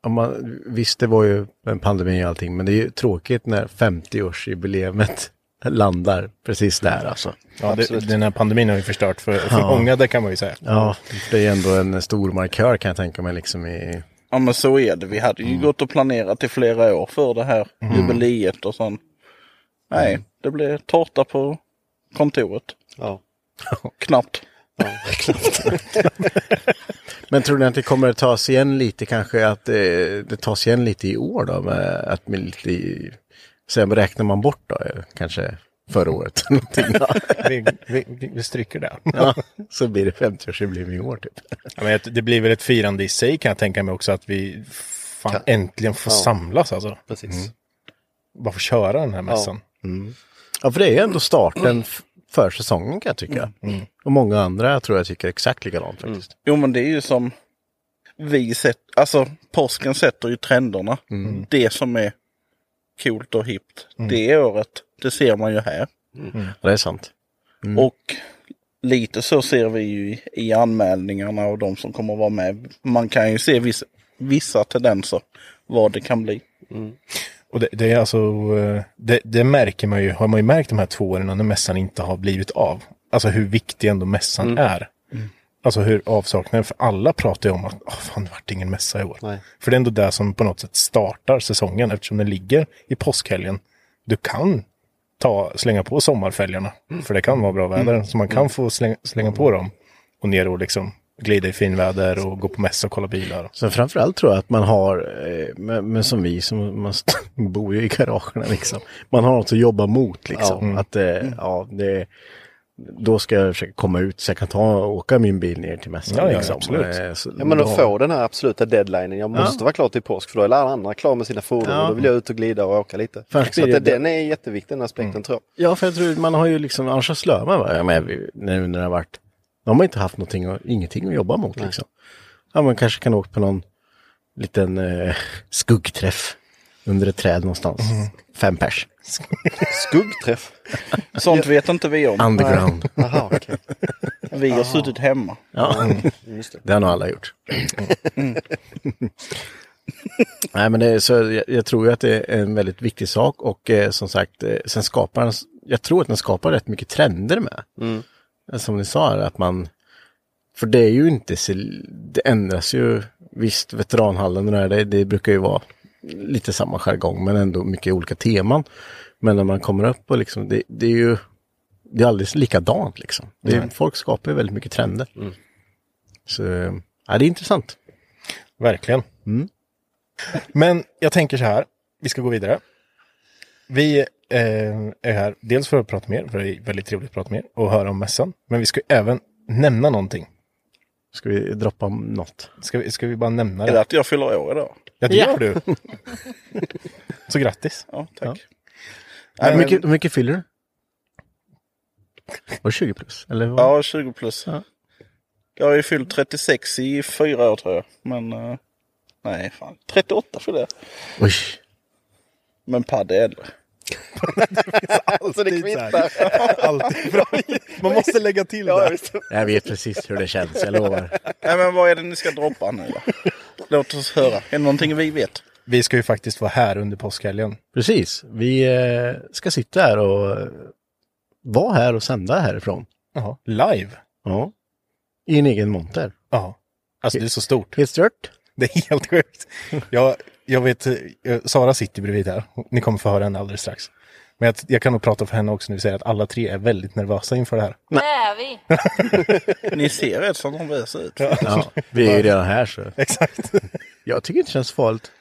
S1: Om man, visst, det var ju en pandemi och allting, men det är ju tråkigt när 50-årsjubileet <laughs> landar precis där alltså.
S2: Ja, det, den här pandemin har ju förstört för, för många, det kan man ju säga.
S1: Ja, det är ändå en stor markör kan jag tänka mig liksom i...
S5: ja, men så är det. Vi hade ju gått och planerat i flera år för det här jubileet och sånt. Nej, det blev tårta på kontoret.
S4: Ja.
S5: Knappt.
S1: Men tror ni att det kommer att tas igen lite kanske att det, det tas igen lite i år då? Med, att med lite i, sen räknar man bort då eh, kanske förra året <laughs> någonting då.
S2: Vi, vi, vi- vi stryker det.
S1: Ja, så blir det 50-årsjubileum i år typ.
S2: Ja, men det blir väl ett firande i sig kan jag tänka mig också att vi fan, äntligen får samlas alltså.
S4: Precis.
S2: Bara få köra den här mässan.
S1: Ja, för det är ju ändå starten f- för säsongen kan jag tycka.
S2: Mm.
S1: Mm. Och många andra tror jag tycker exakt likadant faktiskt.
S5: Jo men det är ju som vi sett, alltså påsken sätter ju trenderna. Det som är coolt och hippt det året, det ser man ju här.
S1: Ja, det är sant.
S5: Och lite så ser vi ju i- i anmälningarna och de som kommer att vara med. Man kan ju se vissa, vissa tendenser vad det kan bli.
S2: Och det, det är alltså, eh, det, det märker man ju, har man ju märkt de här två åren när mässan inte har blivit av. Alltså hur viktig ändå mässan är. Alltså hur avsaknaden, för alla pratar ju om att, åh fan det vart ingen mässa i år.
S4: Nej.
S2: För det är ändå det som på något sätt startar säsongen eftersom den ligger i påskhelgen. Du kan ta, slänga på sommarfälgarna, för det kan vara bra väder. Så man kan få slänga, slänga på dem och ner och liksom glida i finväder och gå på mässa och kolla bilar.
S1: Sen framförallt tror jag att man har, eh, men, men som vi som man st- <laughs> bor ju i garagerna liksom, man har något att jobba mot liksom.
S2: Mm.
S1: Att, eh, ja, det, då ska jag försöka komma ut så jag kan ta och åka min bil ner till mässan.
S2: Ja, ja,
S1: liksom.
S2: absolut.
S1: Eh, så
S4: Ja men
S1: då-
S4: att få den här absoluta deadlinen. Jag måste vara klar till påsk för då är alla andra klara med sina fordon
S1: Ja.
S4: och då vill jag ut och glida och åka lite.
S1: Fast
S4: Så att
S1: det- Mm.
S4: det, den är jätteviktig den aspekten tror jag.
S1: Ja, för jag tror man har ju liksom, annars så slör man va? Ja, men, vi- nu när det har varit, då har man inte haft någonting, och, ingenting att jobba mot liksom. Ja, man kanske kan åka på någon liten eh, skuggträff under ett träd någonstans. Fem pers.
S4: Skuggträff.
S5: Sånt vet inte vi om.
S1: Underground.
S4: Jaha, okej.
S5: Vi har suttit hemma.
S1: Ja, det har nog alla gjort. Nej, men det är, så jag, jag tror ju att det är en väldigt viktig sak och eh, som sagt, eh, sen skapar den, jag tror att den skapar rätt mycket trender med. Eh, Som ni sa, här, att man, för det är ju inte, så- det ändras ju, visst veteranhallen och det, här, det, det brukar ju vara lite samma jargong men ändå mycket olika teman. Men när man kommer upp och liksom, det, det är ju, det är alldeles likadant liksom. Det är, folk skapar ju väldigt mycket trender. Så ja, det är intressant.
S2: Verkligen. Men jag tänker så här, vi ska gå vidare. Vi eh, är här dels för att prata med er, för det är väldigt trevligt att prata med er och höra om mässan. Men vi ska ju även nämna någonting.
S1: Ska vi droppa något?
S2: Ska vi, ska vi bara nämna
S5: Är det
S2: det?
S5: att jag fyller år idag?
S2: Ja, det gör du. <laughs> Så grattis.
S5: Ja, tack.
S1: Äh, Hur mycket, hur mycket fyller du? Var det 20 plus? Eller vad?
S5: Ja, 20 plus. Jag har ju fyllt 36 i fyra år tror jag. Men eh, nej, fan. 38 fyllde jag.
S1: Oj.
S5: Men Padde är äldre.
S4: alltså det kvittar.
S2: <laughs> Alltid bra. Man måste lägga till
S4: Ja,
S2: det.
S4: visst.
S1: Jag vet precis hur det känns, jag lovar.
S5: Nej, men vad är det ni ska droppa nu då? Låt oss höra. Är det någonting vi vet?
S2: Vi ska ju faktiskt vara här under påskhelgen.
S1: Precis, vi eh, ska sitta här och eh, vara här och sända härifrån.
S2: Jaha. Live.
S1: Ja. I en egen monter.
S2: Ja. Alltså det är så stort.
S1: Helt stört.
S2: <laughs> Det är helt sjukt. Jag, jag vet, eh, Sara sitter bredvid här. Ni kommer få höra henne alldeles strax. Men jag, jag kan nog prata för henne också när vi säger att alla tre är väldigt nervösa inför det här.
S6: Det är vi.
S5: <laughs> Ni ser rätt så nervösa ut.
S1: Ja, vi är ju redan här så.
S2: <laughs> Exakt.
S1: Jag tycker inte det känns farligt.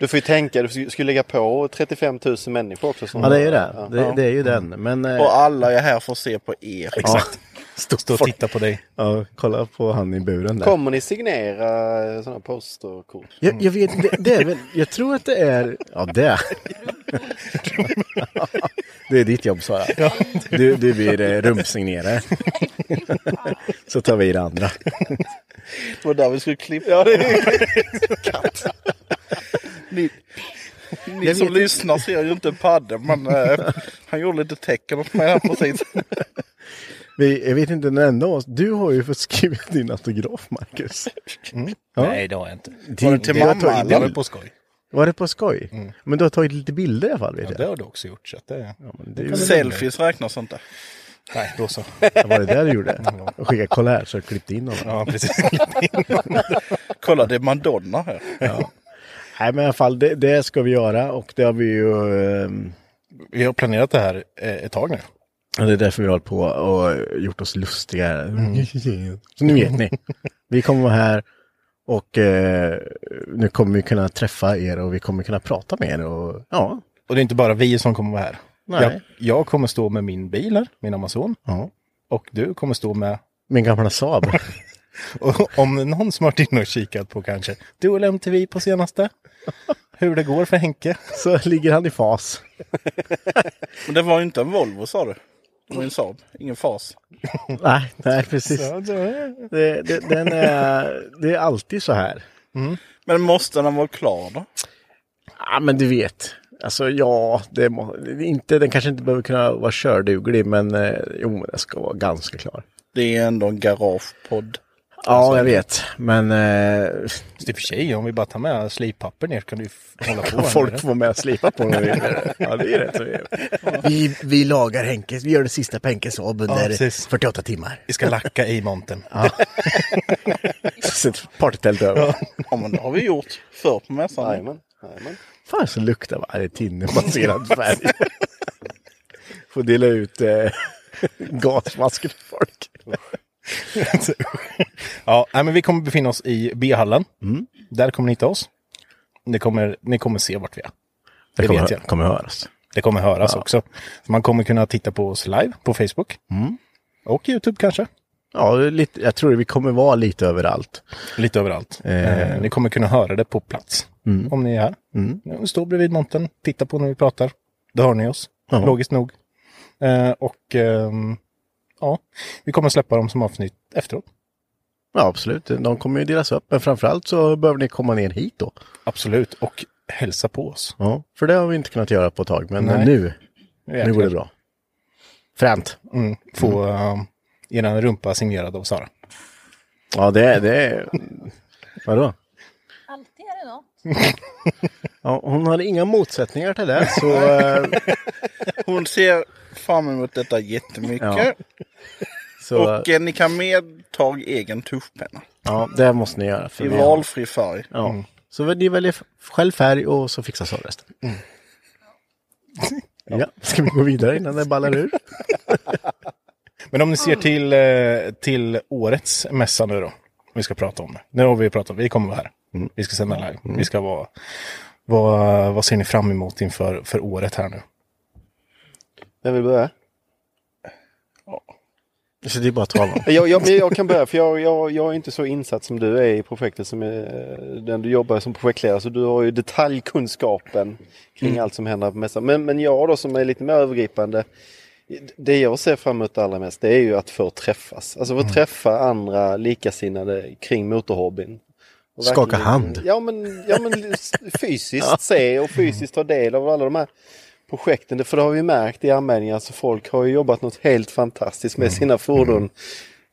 S4: Du får ju tänka, du sk- skulle lägga på 35 000 människor också. Som
S1: Ja, det är ju det. Det, det är ju den. Men eh,
S5: Och alla är här för att se på er.
S2: Exakt. Stå och titta på dig.
S1: ja, kolla på han i buren där.
S4: Kommer ni signera eh, sådana posterkort?
S1: Jag, jag vet inte, det är väl, jag tror att det är, ja det. Det är ditt jobb Sara. Du, du blir eh, rumpsignerare. Så tar vi det andra.
S5: Det var där vi skulle klippa. Ja, det är <laughs> ni ni som lyssnar ser ju inte padden, men eh, han gjorde lite tecken åt mig här precis.
S1: Vi, jag vet inte en enda av oss, du har ju fått skriva din autograf Marcus. Ja.
S2: Nej, det har jag inte.
S5: Var det till
S1: du har
S5: mamma,
S1: tagit-
S5: eller?
S2: Det var på skoj.
S1: Var det på skoj? Men du har tagit lite bilder i alla fall vet
S2: Ja,
S1: jag.
S2: det har du också gjort. Så att det...
S1: Men det är ju-
S5: Selfies räknas inte.
S2: Nej, då så.
S1: Var det där du gjorde? Jag skickade, kolla här, så jag klippte in honom.
S2: <laughs> Ja, precis.
S5: Kolla, det är Madonna här.
S1: Nej men i alla fall, det, det ska vi göra och det har vi ju... ehm,
S2: Vi har planerat det här eh, ett tag nu.
S1: Ja, det är därför vi har hållit på och gjort oss lustiga. här.
S2: Mm.
S1: Mm. Så nu vet ni. Vi kommer vara här och eh, nu kommer vi kunna träffa er och vi kommer kunna prata med er. Och, ja,
S2: Och det är inte bara vi som kommer vara här.
S1: Nej.
S2: Jag, jag kommer stå med min bil här, min Amazon.
S1: ja.
S2: Och du kommer stå med,
S1: Min gamla Saab.
S2: <laughs> och om någon som har varit inne och kikat på kanske, du och MTV på senaste. Hur det går för Henke.
S1: Så ligger han
S2: <laughs>
S1: i fas.
S5: Men det var ju inte en Volvo sa du. Det var en Saab, ingen fas.
S1: Nej, nej precis.
S2: Ja, det-
S1: Det, det, den är, det är alltid så här.
S5: Men måste den vara klar då?
S1: Ja, men du vet. Alltså ja, det må, det är inte, den kanske inte behöver kunna vara körduglig, men eh, jo, men den ska vara ganska klar.
S5: Det är ändå en garagepodd.
S1: Ja, jag vet, men eh,
S2: Fast i och för sig, om vi bara tar med slippapper ner kan du ju f- hålla på.
S1: Kan
S2: här
S1: folk
S2: nere.
S1: får med att slipa på när vi Ja, det är rätt så vi gör. vi, vi lagar Henkes, vi gör det sista på Henkes Saab
S2: Ja,
S1: under
S2: precis.
S1: 48 timmar.
S2: Vi ska lacka i montern.
S1: <laughs> Så ett partytält över.
S5: Ja men det har vi gjort förr på mässan.
S4: Jajamän. jajamän.
S1: Fan så luktar varje tinnebaserad färg. <laughs> får dela ut eh, <laughs> gasmasker till folk.
S2: <laughs> Ja, nej, men vi kommer befinna oss i B-hallen.
S1: Mm.
S2: Där kommer ni hitta oss. Ni kommer, ni kommer se vart vi är. Det, vet jag.
S1: kommer höras.
S2: Det kommer höras också. Man kommer kunna titta på oss live på Facebook. Och YouTube kanske.
S1: Mm. Ja, lite, jag tror vi kommer vara lite överallt.
S2: Lite överallt. Eh, ni kommer kunna höra det på plats. Om ni är här. Mm. Stå bredvid montern, titta på när vi pratar. Då hör ni oss.
S1: Ja.
S2: Logiskt nog. Eh, och ehm, ja, vi kommer släppa dem som avsnitt efteråt.
S1: Ja, absolut. De kommer ju delas upp, men framförallt så behöver ni komma ner hit då.
S2: Absolut. Och hälsa på oss.
S1: Ja, för det har vi inte kunnat göra på ett tag, men
S2: Nej.
S1: nu, nu
S2: Jäklar.
S1: går det bra. Fränt.
S2: Mm. Få mm. eran rumpa signerad av Sara.
S1: Ja, det är... Det är... Vadå?
S6: Alltid är det något.
S1: <laughs> Ja, hon har inga motsättningar till det, så... eh,
S5: Hon ser fram emot detta jättemycket.
S1: så <laughs>
S5: Och eh, ni kan medta egen tuschpenna.
S1: ja, det måste ni göra. För
S5: I
S1: vi-
S5: valfri färg.
S1: Ja.
S2: Mm.
S1: Så väl- ni väljer f- själv färg och så fixar så resten.
S2: Mm.
S1: Ja, <laughs> ska vi gå vidare innan det ballar ur?
S2: <laughs> Men om ni ser till, eh, till årets mässa nu då. Vi ska prata om det. Nu har vi pratat, vi kommer vara här.
S1: Mm.
S2: Vi ska sända live. Vi ska vara... Vad, vad ser ni fram emot inför för året här nu?
S4: Vem vill börja?
S1: Så det är bara att
S2: <laughs>
S1: ta honom.
S4: Jag, jag, men jag kan börja för jag, jag, jag är inte så insatt som du är i projektet som är, den du jobbar som projektledare. Så du har ju detaljkunskapen kring allt som händer på mässan. Men, men jag då som är lite mer övergripande. Det jag ser fram emot allra mest det är ju att få träffas. Alltså få träffa andra likasinnade kring motorhobbyn. Och
S1: Skaka
S4: verkligen-
S1: hand.
S4: Ja men, ja, men s- fysiskt se och fysiskt ta del av alla de här projekten. Det- För det har vi märkt i anmälningar. Så folk har ju jobbat något helt fantastiskt med sina fordon.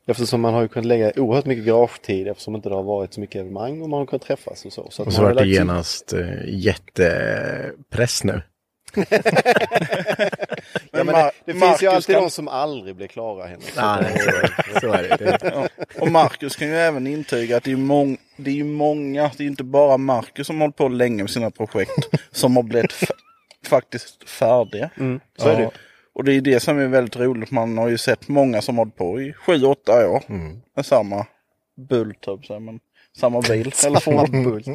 S4: Eftersom man har ju kunnat lägga oerhört mycket garagetid eftersom inte det har varit så mycket evenemang och man har kunnat träffas och så. att
S1: Och
S4: man
S1: så
S4: har
S1: vart det
S4: lagt-
S1: genast eh, jättepress nu.
S4: Ja, men det,
S5: Mar-
S4: det finns
S5: Marcus
S4: ju alltid
S5: kan-
S4: de som aldrig blir klara. Henrik.
S5: Nej, så är det. Så är det. Det- Ja. Och Marcus kan ju även intyga att det är, mång, det är ju många, det är inte bara Marcus som har hållit på länge med sina projekt som har blivit f- faktiskt färdiga.
S4: Mm, så är det ju.
S5: Och det är det som är väldigt roligt. Man har ju sett många som har hållit på i 7-8 år
S4: Mm.
S5: med samma bult, höll jag på att säga, men samma bil.
S4: <laughs> Samma
S5: eller fordon.
S4: bult.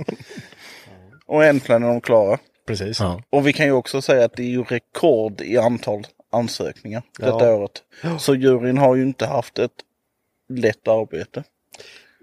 S5: Och äntligen är de klara.
S2: Precis.
S1: Ja.
S5: Och vi kan ju också säga att det är ju rekord i antal ansökningar
S4: Ja.
S5: detta året. Så juryn har ju inte haft ett lätt arbete.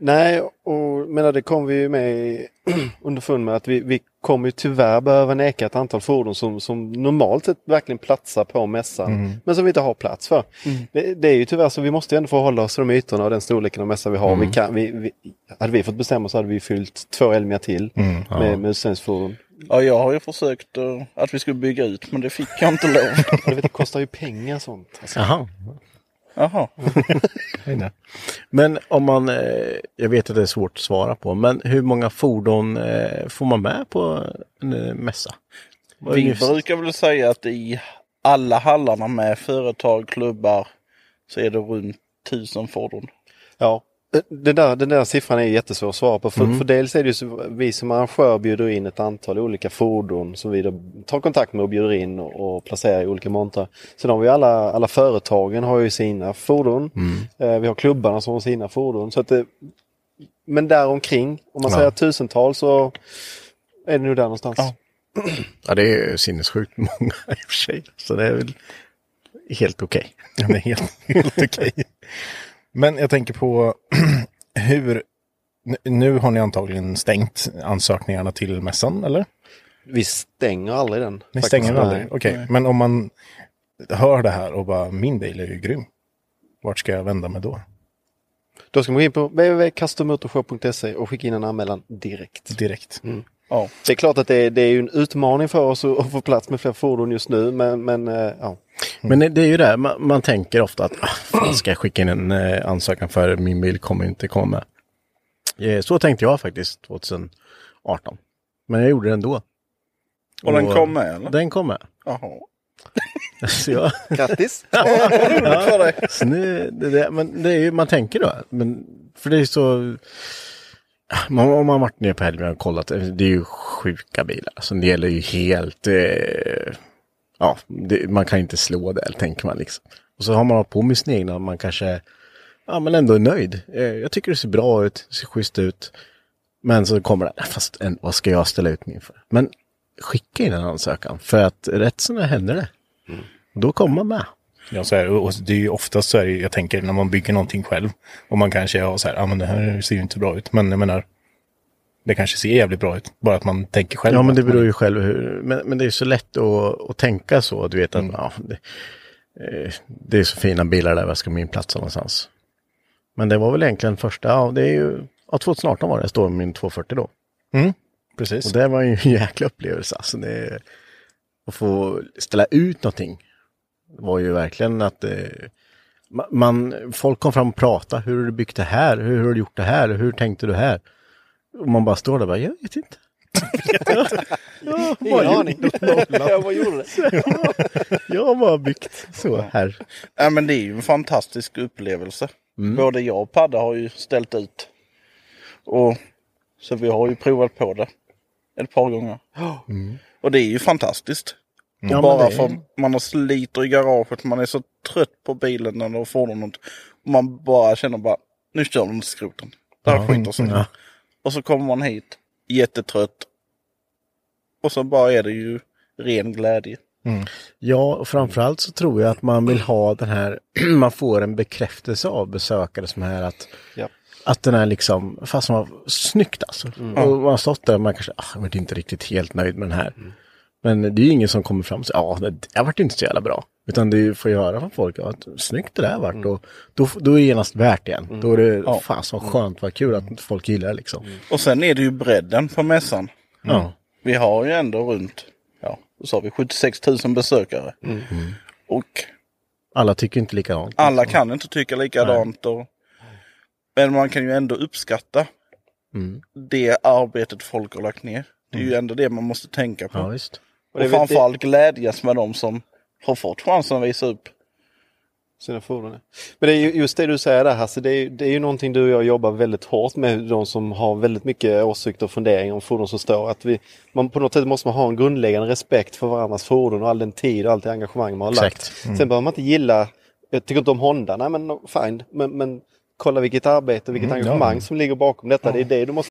S4: Nej, och menar, det kom vi ju med i- <clears throat> underfund med att vi, vi kommer ju tyvärr behöva neka ett antal fordon som, som normalt sett verkligen platsar på mässan
S2: Mm.
S4: men som vi inte har plats för.
S5: Mm.
S4: Det, det är ju tyvärr så vi måste ju ändå förhålla oss till de ytorna och den storleken av mässa vi har. Vi kan, vi, vi, hade vi fått bestämma så hade vi fyllt två Elmia till
S2: Mm, ja.
S4: med, med utställningsfordon.
S5: Ja, jag har ju försökt eh, att vi skulle bygga ut, men det fick jag inte lov.
S1: <laughs>
S4: Jag vet, det kostar ju pengar sånt. Alltså.
S1: Jaha.
S5: Jaha.
S1: Men om man, eh, jag vet att det är svårt att svara på, men hur många fordon eh, får man med på en eh, mässa? Vad är
S5: Vi
S1: ungefär-
S5: brukar väl säga att i alla hallarna med företag, klubbar, så är det runt tusen fordon.
S4: Ja, den där, den där siffran är jättesvår att svara på. För,
S1: Mm.
S4: för dels är det ju så, vi som arrangör bjuder in ett antal olika fordon som vi då tar kontakt med och bjuder in och, och placerar i olika montrar. Sen har vi alla, alla företagen har ju sina fordon.
S1: Mm.
S4: Eh, vi har klubbarna som har sina fordon. Så att det, men däromkring, om man
S1: Ja.
S4: säger tusental så är det nog där någonstans.
S5: Ja.
S1: Ja, det är ju sinnessjukt många <laughs> i och för sig. Så det är väl helt okej.
S2: Ja, det är helt, helt okej. Men jag tänker på <clears throat> hur... nu- Nu har ni antagligen stängt ansökningarna till mässan, eller?
S4: Vi stänger aldrig den.
S2: Ni
S4: faktiskt.
S2: stänger den aldrig?
S4: Nej.
S2: Okej, men om man hör det här och bara min bil är ju grym. Vart ska jag vända mig då?
S4: Då ska man gå in på www.custommotorshow.se och skicka in en anmälan direkt.
S2: Direkt.
S5: Ja.
S4: Mm. Det är klart att det är, det är ju en utmaning för oss att, att få plats med fler fordon just nu, men, men eh, ja.
S1: Mm. Men det är ju det, här, man, man tänker ofta att ah, fan, ska jag skicka in en eh, ansökan för min bil kommer inte komma med. Eh, Så tänkte jag faktiskt 2018. Men jag gjorde det ändå.
S5: Och den kom med, eller?
S1: Den kom med. <laughs>
S5: Jaha.
S1: Så jag,
S5: <laughs>
S4: Grattis!
S1: Så nu, det, det, men det är ju, man tänker då. Men, för det är ju så... Man, om man varit nere på helgen och kollat, det är ju sjuka bilar. Så det gäller ju helt... Eh, ja, det, man kan inte slå det, tänker man liksom. Och så har man hållit på med sina egna, man kanske... Ja, men ändå är nöjd. Eh, jag tycker det ser bra ut, ser schysst ut. Men så kommer det, fast en, vad ska jag ställa ut min för? Men skicka in en ansökan, för att rätt som det händer det. Då kommer man med.
S2: Ja, så här, och det är ju oftast så här, jag tänker när man bygger någonting själv. Och man kanske har så här, ja ah, men det här ser ju inte bra ut. Men jag menar, det kanske ser jävligt bra ut. Bara att man tänker själv.
S1: Ja, men
S2: att
S1: det
S2: man-
S1: beror ju själv hur. Men, men det är så lätt att, att tänka så. Du vet att
S2: Mm.
S1: ja, det, eh, det är så fina bilar där, var ska min platsa någonstans? Men det var väl egentligen första, ja, det är ju, ja, 2018 var det, jag står med min 240 då.
S2: Mm, Precis.
S1: Och det var ju en <laughs> jäkla upplevelse. Alltså det, att få ställa ut någonting var ju verkligen att eh, ma- man, folk kom fram och pratade. Hur har du byggt det här? Hur har du gjort det här? Hur tänkte du här? Och man bara står där och bara, jag vet inte. <laughs> ja,
S4: Ingen
S1: vad
S4: aning.
S1: gjorde jag?
S4: Jag bara gjorde det.
S1: Jag har bara byggt så här.
S5: Ja, men det är ju en fantastisk upplevelse.
S1: Mm.
S5: Både jag och Padda har ju ställt ut. Och, så vi har ju provat på det ett
S1: <gasps>
S5: par gånger. Och det är ju fantastiskt.
S1: Mm. men
S5: Bara
S1: det är-
S5: för att man har sliter i garaget, man är så trött på bilen eller fordonet. Och man bara känner bara, nu kör de till skroten. Det här skiter sig.
S1: ja.
S5: Och så kommer man hit, jättetrött. Och så bara är det ju ren glädje.
S1: Ja, och framförallt så tror jag att man vill ha den här, <clears throat> man får en bekräftelse av besökare som här att
S4: Ja.
S1: Att den är liksom, fast man snyggt alltså.
S4: Mm.
S1: Och man har stått där och man kanske, ah, jag varit inte riktigt helt nöjd med den här.
S4: Mm.
S1: Men det är ju ingen som kommer fram och säger, ja, det där vart inte så jävla bra. Utan du får ju höra från folk, ja, att snyggt det där vart.
S4: Mm.
S1: Och då, då är det genast värt igen. Då är det, fan så skönt, vad kul att folk gillar det liksom.
S4: Mm.
S5: Och sen är det ju bredden på mässan. Mm.
S1: Ja.
S5: Vi har ju ändå runt, ja, då sa vi 76 000 besökare.
S1: Mm.
S5: Och
S1: Alla tycker inte likadant.
S5: alla kan inte tycka likadant. Och, men man kan ju ändå uppskatta
S1: Mm.
S5: det arbetet folk har lagt ner. Det är ju ändå det man måste tänka på.
S1: Ja, visst.
S5: Och Och, framförallt glädjas med de som har fått chansen att visa upp.
S4: sina fordon. ja. Men det är ju just det du säger där Hasse, det är, ju- det är ju någonting du och jag jobbar väldigt hårt med, de som har väldigt mycket åsikter och funderingar om fordon som står. Att vi, man på något sätt måste man ha en grundläggande respekt för varandras fordon och all den tid och allt det engagemang man har
S2: Exakt.
S4: lagt.
S2: Mm.
S4: Sen behöver man inte gilla, jag tycker inte om Honda, nej men fine, men, men kolla vilket arbete och vilket
S2: Mm, ja.
S4: engagemang som ligger bakom detta. Det är det du måste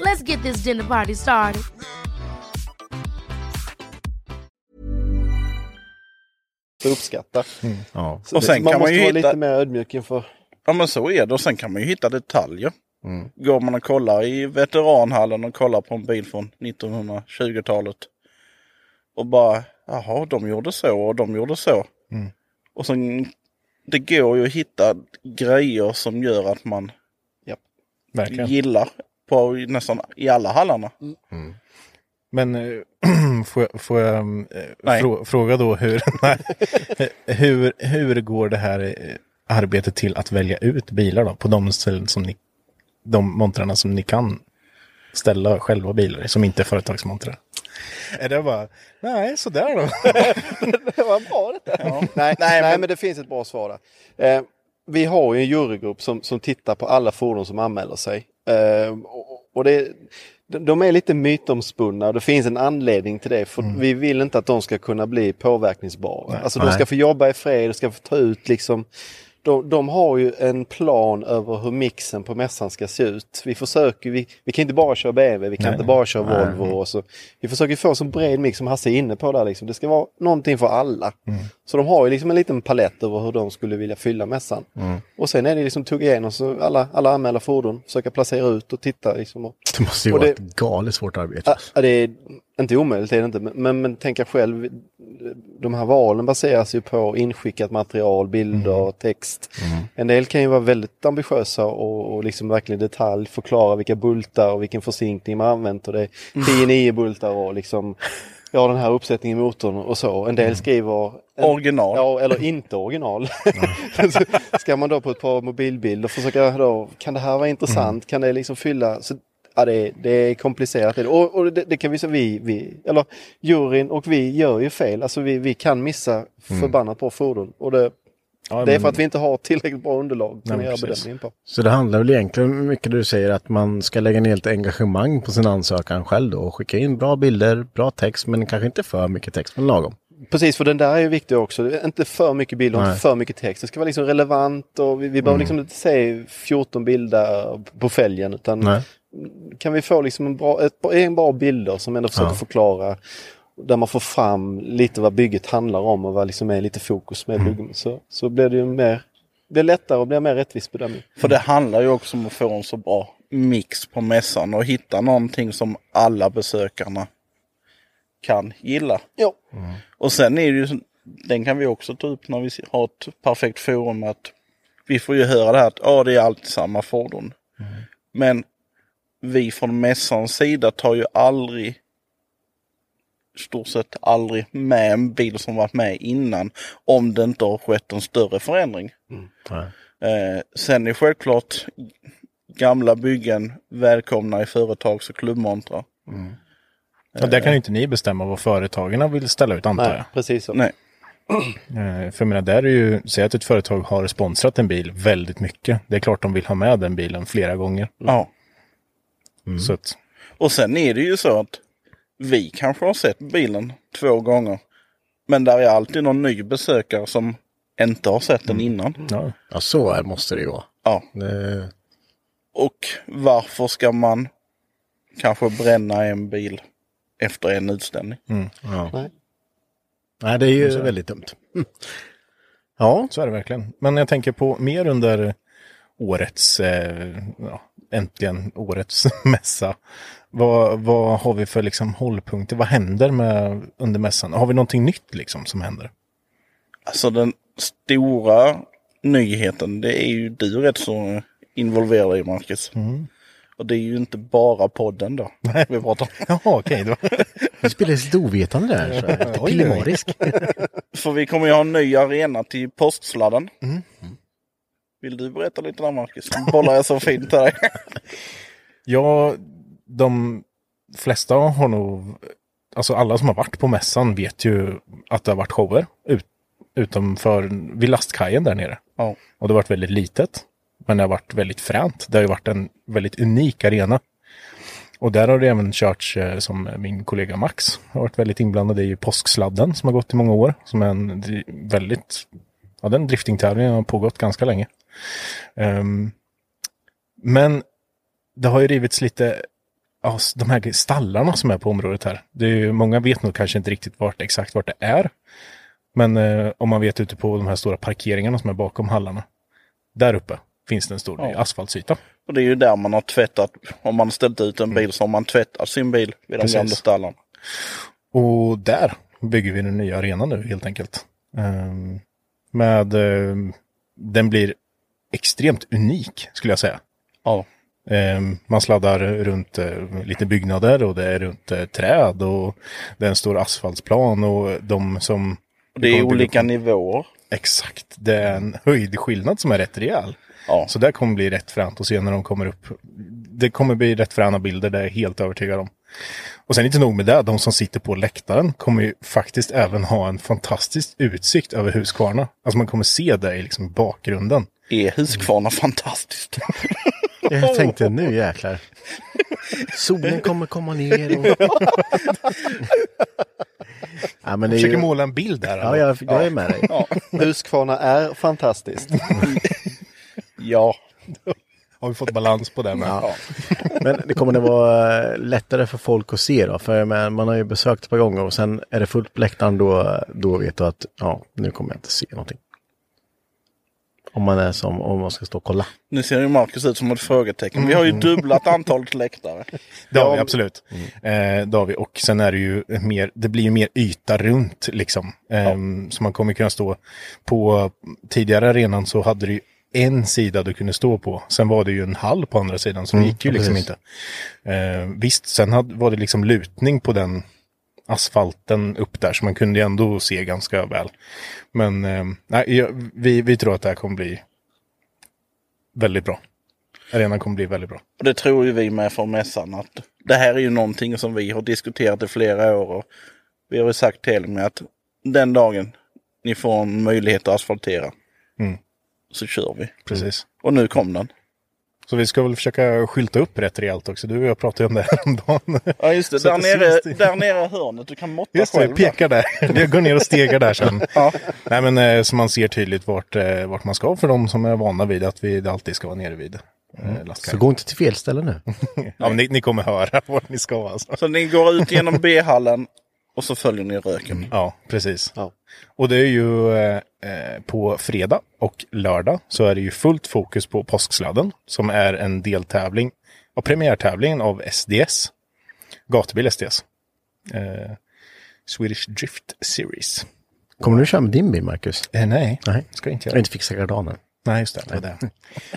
S7: Let's get this dinner party started.
S4: uppskatta. Så
S5: Och
S4: det-
S5: sen
S4: man
S5: kan man
S4: måste
S5: ju
S4: vara
S5: hitta...
S4: lite mer ödmjuk inför...
S5: Ja men så är det. Och sen kan man ju hitta detaljer.
S4: Mm.
S5: Går man och kollar i veteranhallen och kollar på en bil från 1920-talet. Och bara, jaha de gjorde så och de gjorde så.
S2: Mm.
S5: Och sen, det går ju att hitta grejer som gör att man
S2: Verkligen.
S5: gillar på nästan i alla hallarna.
S2: Men eh, <clears throat> får jag, får jag eh,
S5: Nej.
S2: frå, fråga då hur, <laughs> nej. hur, hur går det här eh, arbetet till att välja ut bilar då? På de ställen som ni, de montrarna som ni kan ställa själva bilar i, som inte är företagsmontrar. Är det bara, nej sådär då.
S4: det var bra detta. Nej, nej, men... det finns ett bra svar där. Eh, vi har ju en jurygrupp som, som tittar på alla fordon som anmäler sig. Eh, och, och det, de de är lite mytomspunna och det finns en anledning till det. För Vi vill inte att de ska kunna bli påverkningsbara. Alltså de
S2: Nej.
S4: ska få jobba i fred, de ska få ta ut liksom de, de har ju en plan över hur mixen på mässan ska se ut. Vi försöker, vi, vi kan inte bara köra BMW, vi kan
S2: Nej.
S4: inte bara köra
S2: Nej.
S4: Volvo. Och så, vi försöker få så bred mix som Hasse är inne på där. Liksom. Det ska vara någonting för alla. Så de har ju liksom en liten palett över hur de skulle vilja fylla mässan. Och sen är det liksom tugga igenom så alla, alla anmäla fordon, försöka placera ut och titta. Liksom, och,
S1: <laughs> Det måste ju
S4: Och
S1: vara
S4: det-
S1: ett galet svårt arbete.
S4: Ja, ja, det är inte omöjligt, det är det inte. Men, men, men tänka själv, de här valen baseras ju på inskickat material, bilder, text. En del kan ju vara väldigt ambitiösa och, och liksom verkligen i detalj förklara vilka bultar och vilken försinkning man använt. Och det är
S5: Mm.
S4: 10-9 bultar och liksom, ja den här uppsättningen i motorn och så. En
S5: Mm.
S4: del skriver... En,
S5: Original.
S4: Ja,
S5: <laughs>
S4: eller inte original. Så <laughs> Ska man då på ett par mobilbilder försöka då, kan det här
S5: Mm.
S4: vara intressant? Kan det liksom fylla? Så, ja, det, är- det är komplicerat. Det är det. Och, och det, det kan vi säga, vi, vi, eller juryn och vi gör ju fel. Alltså vi, vi kan missa förbannat bra fordon. Och det,
S2: Ja,
S4: det är
S2: men-
S4: för att vi inte har tillräckligt bra underlag
S2: Nej,
S4: som vi gör
S2: precis.
S4: bedömningen på.
S1: Så det handlar väl egentligen mycket det du säger att man ska lägga ner lite engagemang på sin ansökan själv då och skicka in bra bilder, bra text men kanske inte för mycket text men lagom.
S4: Precis, för den där är ju viktig också. Det är Inte för mycket bilder,
S1: Nej.
S4: inte för mycket text. Det ska vara liksom relevant och vi, vi
S2: Mm.
S4: behöver liksom inte se 14 bilder på fälgen. Utan
S1: Nej.
S4: kan vi få liksom en bra, ett, en bra bilder som ändå försöker
S1: Ja.
S4: förklara där man får fram lite vad bygget handlar om och vad liksom är lite fokus med
S2: Mm.
S4: bygget. Så, så blir det ju mer, blir lättare och blir mer rättvis bedömning.
S5: För det handlar ju också om att få en så bra mix på mässan och hitta någonting som alla besökarna kan gilla.
S4: Ja.
S5: Och sen är det ju, den kan vi också ta upp när vi har ett perfekt forum att vi får ju höra det här att ja, det är alltid samma fordon. Men vi från mässans sida tar ju aldrig stort sett aldrig med en bil som varit med innan om det inte har skett en större förändring.
S1: Nej.
S5: Eh, sen är självklart gamla byggen välkomna i företags och klubbmontrar.
S2: Och där kan ju inte ni bestämma vad företagen vill ställa ut antar
S4: Nej,
S2: jag.
S4: precis så.
S5: Nej,
S2: Eh, För jag menar, där är ju, säg att ett företag har sponsrat en bil väldigt mycket. Det är klart de vill ha med den bilen flera gånger.
S5: ja.
S1: Mm.
S2: Så att,
S5: Och sen är det ju så att vi kanske har sett bilen två gånger. Men där är alltid någon ny besökare som inte har sett den innan.
S1: Ja, ja så är, måste det ju vara.
S5: Ja.
S1: Det-
S5: Och varför ska man kanske bränna en bil efter en utställning?
S2: Mm.
S1: Ja. Nej. Nej, det är ju
S2: Så är det.
S1: väldigt dumt.
S2: <laughs> Ja, så är det verkligen. Men jag tänker på mer under årets, eh, ja, äntligen årets <laughs> mässa. Vad, vad har vi för liksom hållpunkter? Vad händer med, under mässan? Har vi någonting nytt liksom som händer?
S5: Alltså den stora nyheten, det är ju du rätt så involverad i Marcus. Och det är ju inte bara podden då vi pratar om.
S2: Jaha, okej.
S1: <laughs> Du spelar lite ovetande där. Så här, lite pillemarisk.
S5: För vi kommer ju ha en ny arena till postsladden.
S2: Mm.
S5: Vill du berätta lite där Marcus? Bollar jag så fint till dig.
S2: Ja, de flesta har nog, alltså alla som har varit på mässan vet ju att det har varit shower ut, utanför, vid lastkajen där nere.
S5: Ja.
S2: Och det har varit väldigt litet, men det har varit väldigt fränt. Det har ju varit en väldigt unik arena. Och där har det även körts, eh, som min kollega Max har varit väldigt inblandad i, påsksladden som har gått i många år. Som är en dri- väldigt, ja den driftingtävlingen har pågått ganska länge. Ehm, men det har ju rivits lite, ja, s- de här stallarna som är på området här. Det är ju, många vet nog kanske inte riktigt vart, exakt vart det är. Men eh, om man vet ute på de här stora parkeringarna som är bakom hallarna. Där uppe finns det en stor
S5: Ja.
S2: asfaltsyta.
S5: Och det är ju där man har tvättat. Om man har ställt ut en bil så har man tvättat sin bil vid den
S2: Precis.
S5: gamla stallen.
S2: Och där bygger vi den nya arenan nu helt enkelt. Ehm, med, ehm, den blir extremt unik skulle jag säga.
S5: Ja.
S2: Ehm, man sladdar runt eh, lite byggnader och det är runt eh, träd och det är en stor asfaltsplan och de som...
S5: Och det är olika nivåer.
S2: Exakt, det är en höjdskillnad som är rätt rejäl. Så det kommer bli rätt fränt att se när de kommer upp. Det kommer bli rätt fräna bilder, det är jag helt övertygad om. Och sen inte nog med det, de som sitter på läktaren kommer ju faktiskt även ha en fantastisk utsikt över Huskvarna. Alltså man kommer se det i liksom bakgrunden.
S5: Är Huskvarna fantastiskt?
S1: Jag tänkte nu jäklar. Solen kommer komma ner.
S2: <laughs>
S1: Och... Ja, men det är
S2: Försöker
S1: ju-
S2: måla en bild där.
S1: Ja, jag, jag är med dig.
S5: <laughs> Ja.
S4: Huskvarna är fantastiskt.
S5: ja.
S2: Har vi fått balans på det med?
S1: Ja. Men det kommer det vara eh, lättare för folk att se då? För jag menar, man har ju besökt ett par gånger och sen är det fullt på läktaren då, då vet du att ja, nu kommer jag inte se någonting. Om man är som, om man ska stå och kolla.
S5: Nu ser ju Marcus ut som ett frågetecken. Vi har ju
S2: Mm. <laughs>
S5: dubblat antalet läktare.
S2: Det har vi absolut.
S1: Mm.
S2: Eh, det har vi. Och sen är det ju mer, det blir ju mer yta runt liksom. Ehm, Så man kommer kunna stå på tidigare arenan så hade du ju en sida du kunde stå på. Sen var det ju en hall på andra sidan så det
S1: Mm,
S2: gick ju
S1: ja,
S2: liksom
S1: precis.
S2: inte. Ehm, visst, sen hade, var det liksom lutning på den asfalten upp där så man kunde ju ändå se ganska väl. Men ehm, nej, jag- vi, vi tror att det här kommer bli väldigt bra. Arenan kommer bli väldigt bra.
S1: Mm.
S5: Och det tror ju vi med från mässan att det här är ju någonting som vi har diskuterat i flera år. Och vi har ju sagt till med att den dagen ni får en möjlighet att asfaltera
S2: Mm.
S5: så kör vi.
S2: Precis.
S5: Och nu kom den.
S2: Så vi ska väl försöka skylta upp rätt rejält också. Du och jag pratade ju om det här om dagen.
S5: Ja just det,
S2: Så
S5: där
S2: att det
S5: nere,
S2: syns det.
S5: där nere i hörnet. Du kan måtta
S2: Just det,
S5: själv.
S2: jag
S5: där.
S2: pekar där. Jag går ner och stegar där sen. Nej men eh, så man ser tydligt vart, eh, vart man ska för de som är vana vid att vi alltid ska vara nere vid eh,
S1: Mm. Så
S2: lastkajen.
S1: gå inte till fel ställe nu.
S2: <laughs> Ja, men ni, ni kommer höra <laughs> vart ni ska alltså.
S5: Så ni går ut genom B-hallen och så följer ni röken.
S2: Ja, precis. Och det är ju eh, eh, på fredag och lördag så är det ju fullt fokus på påsksladden som är en deltävling och premiärtävlingen av SDS. Gatubil SDS. Eh, Swedish Drift Series.
S1: Kommer du köra med din bil, Marcus?
S2: Eh, nej,
S1: Nej.
S2: ska jag inte
S1: Jag har
S2: göra.
S1: inte fixat gardanen.
S2: Nej, just det. det, var det.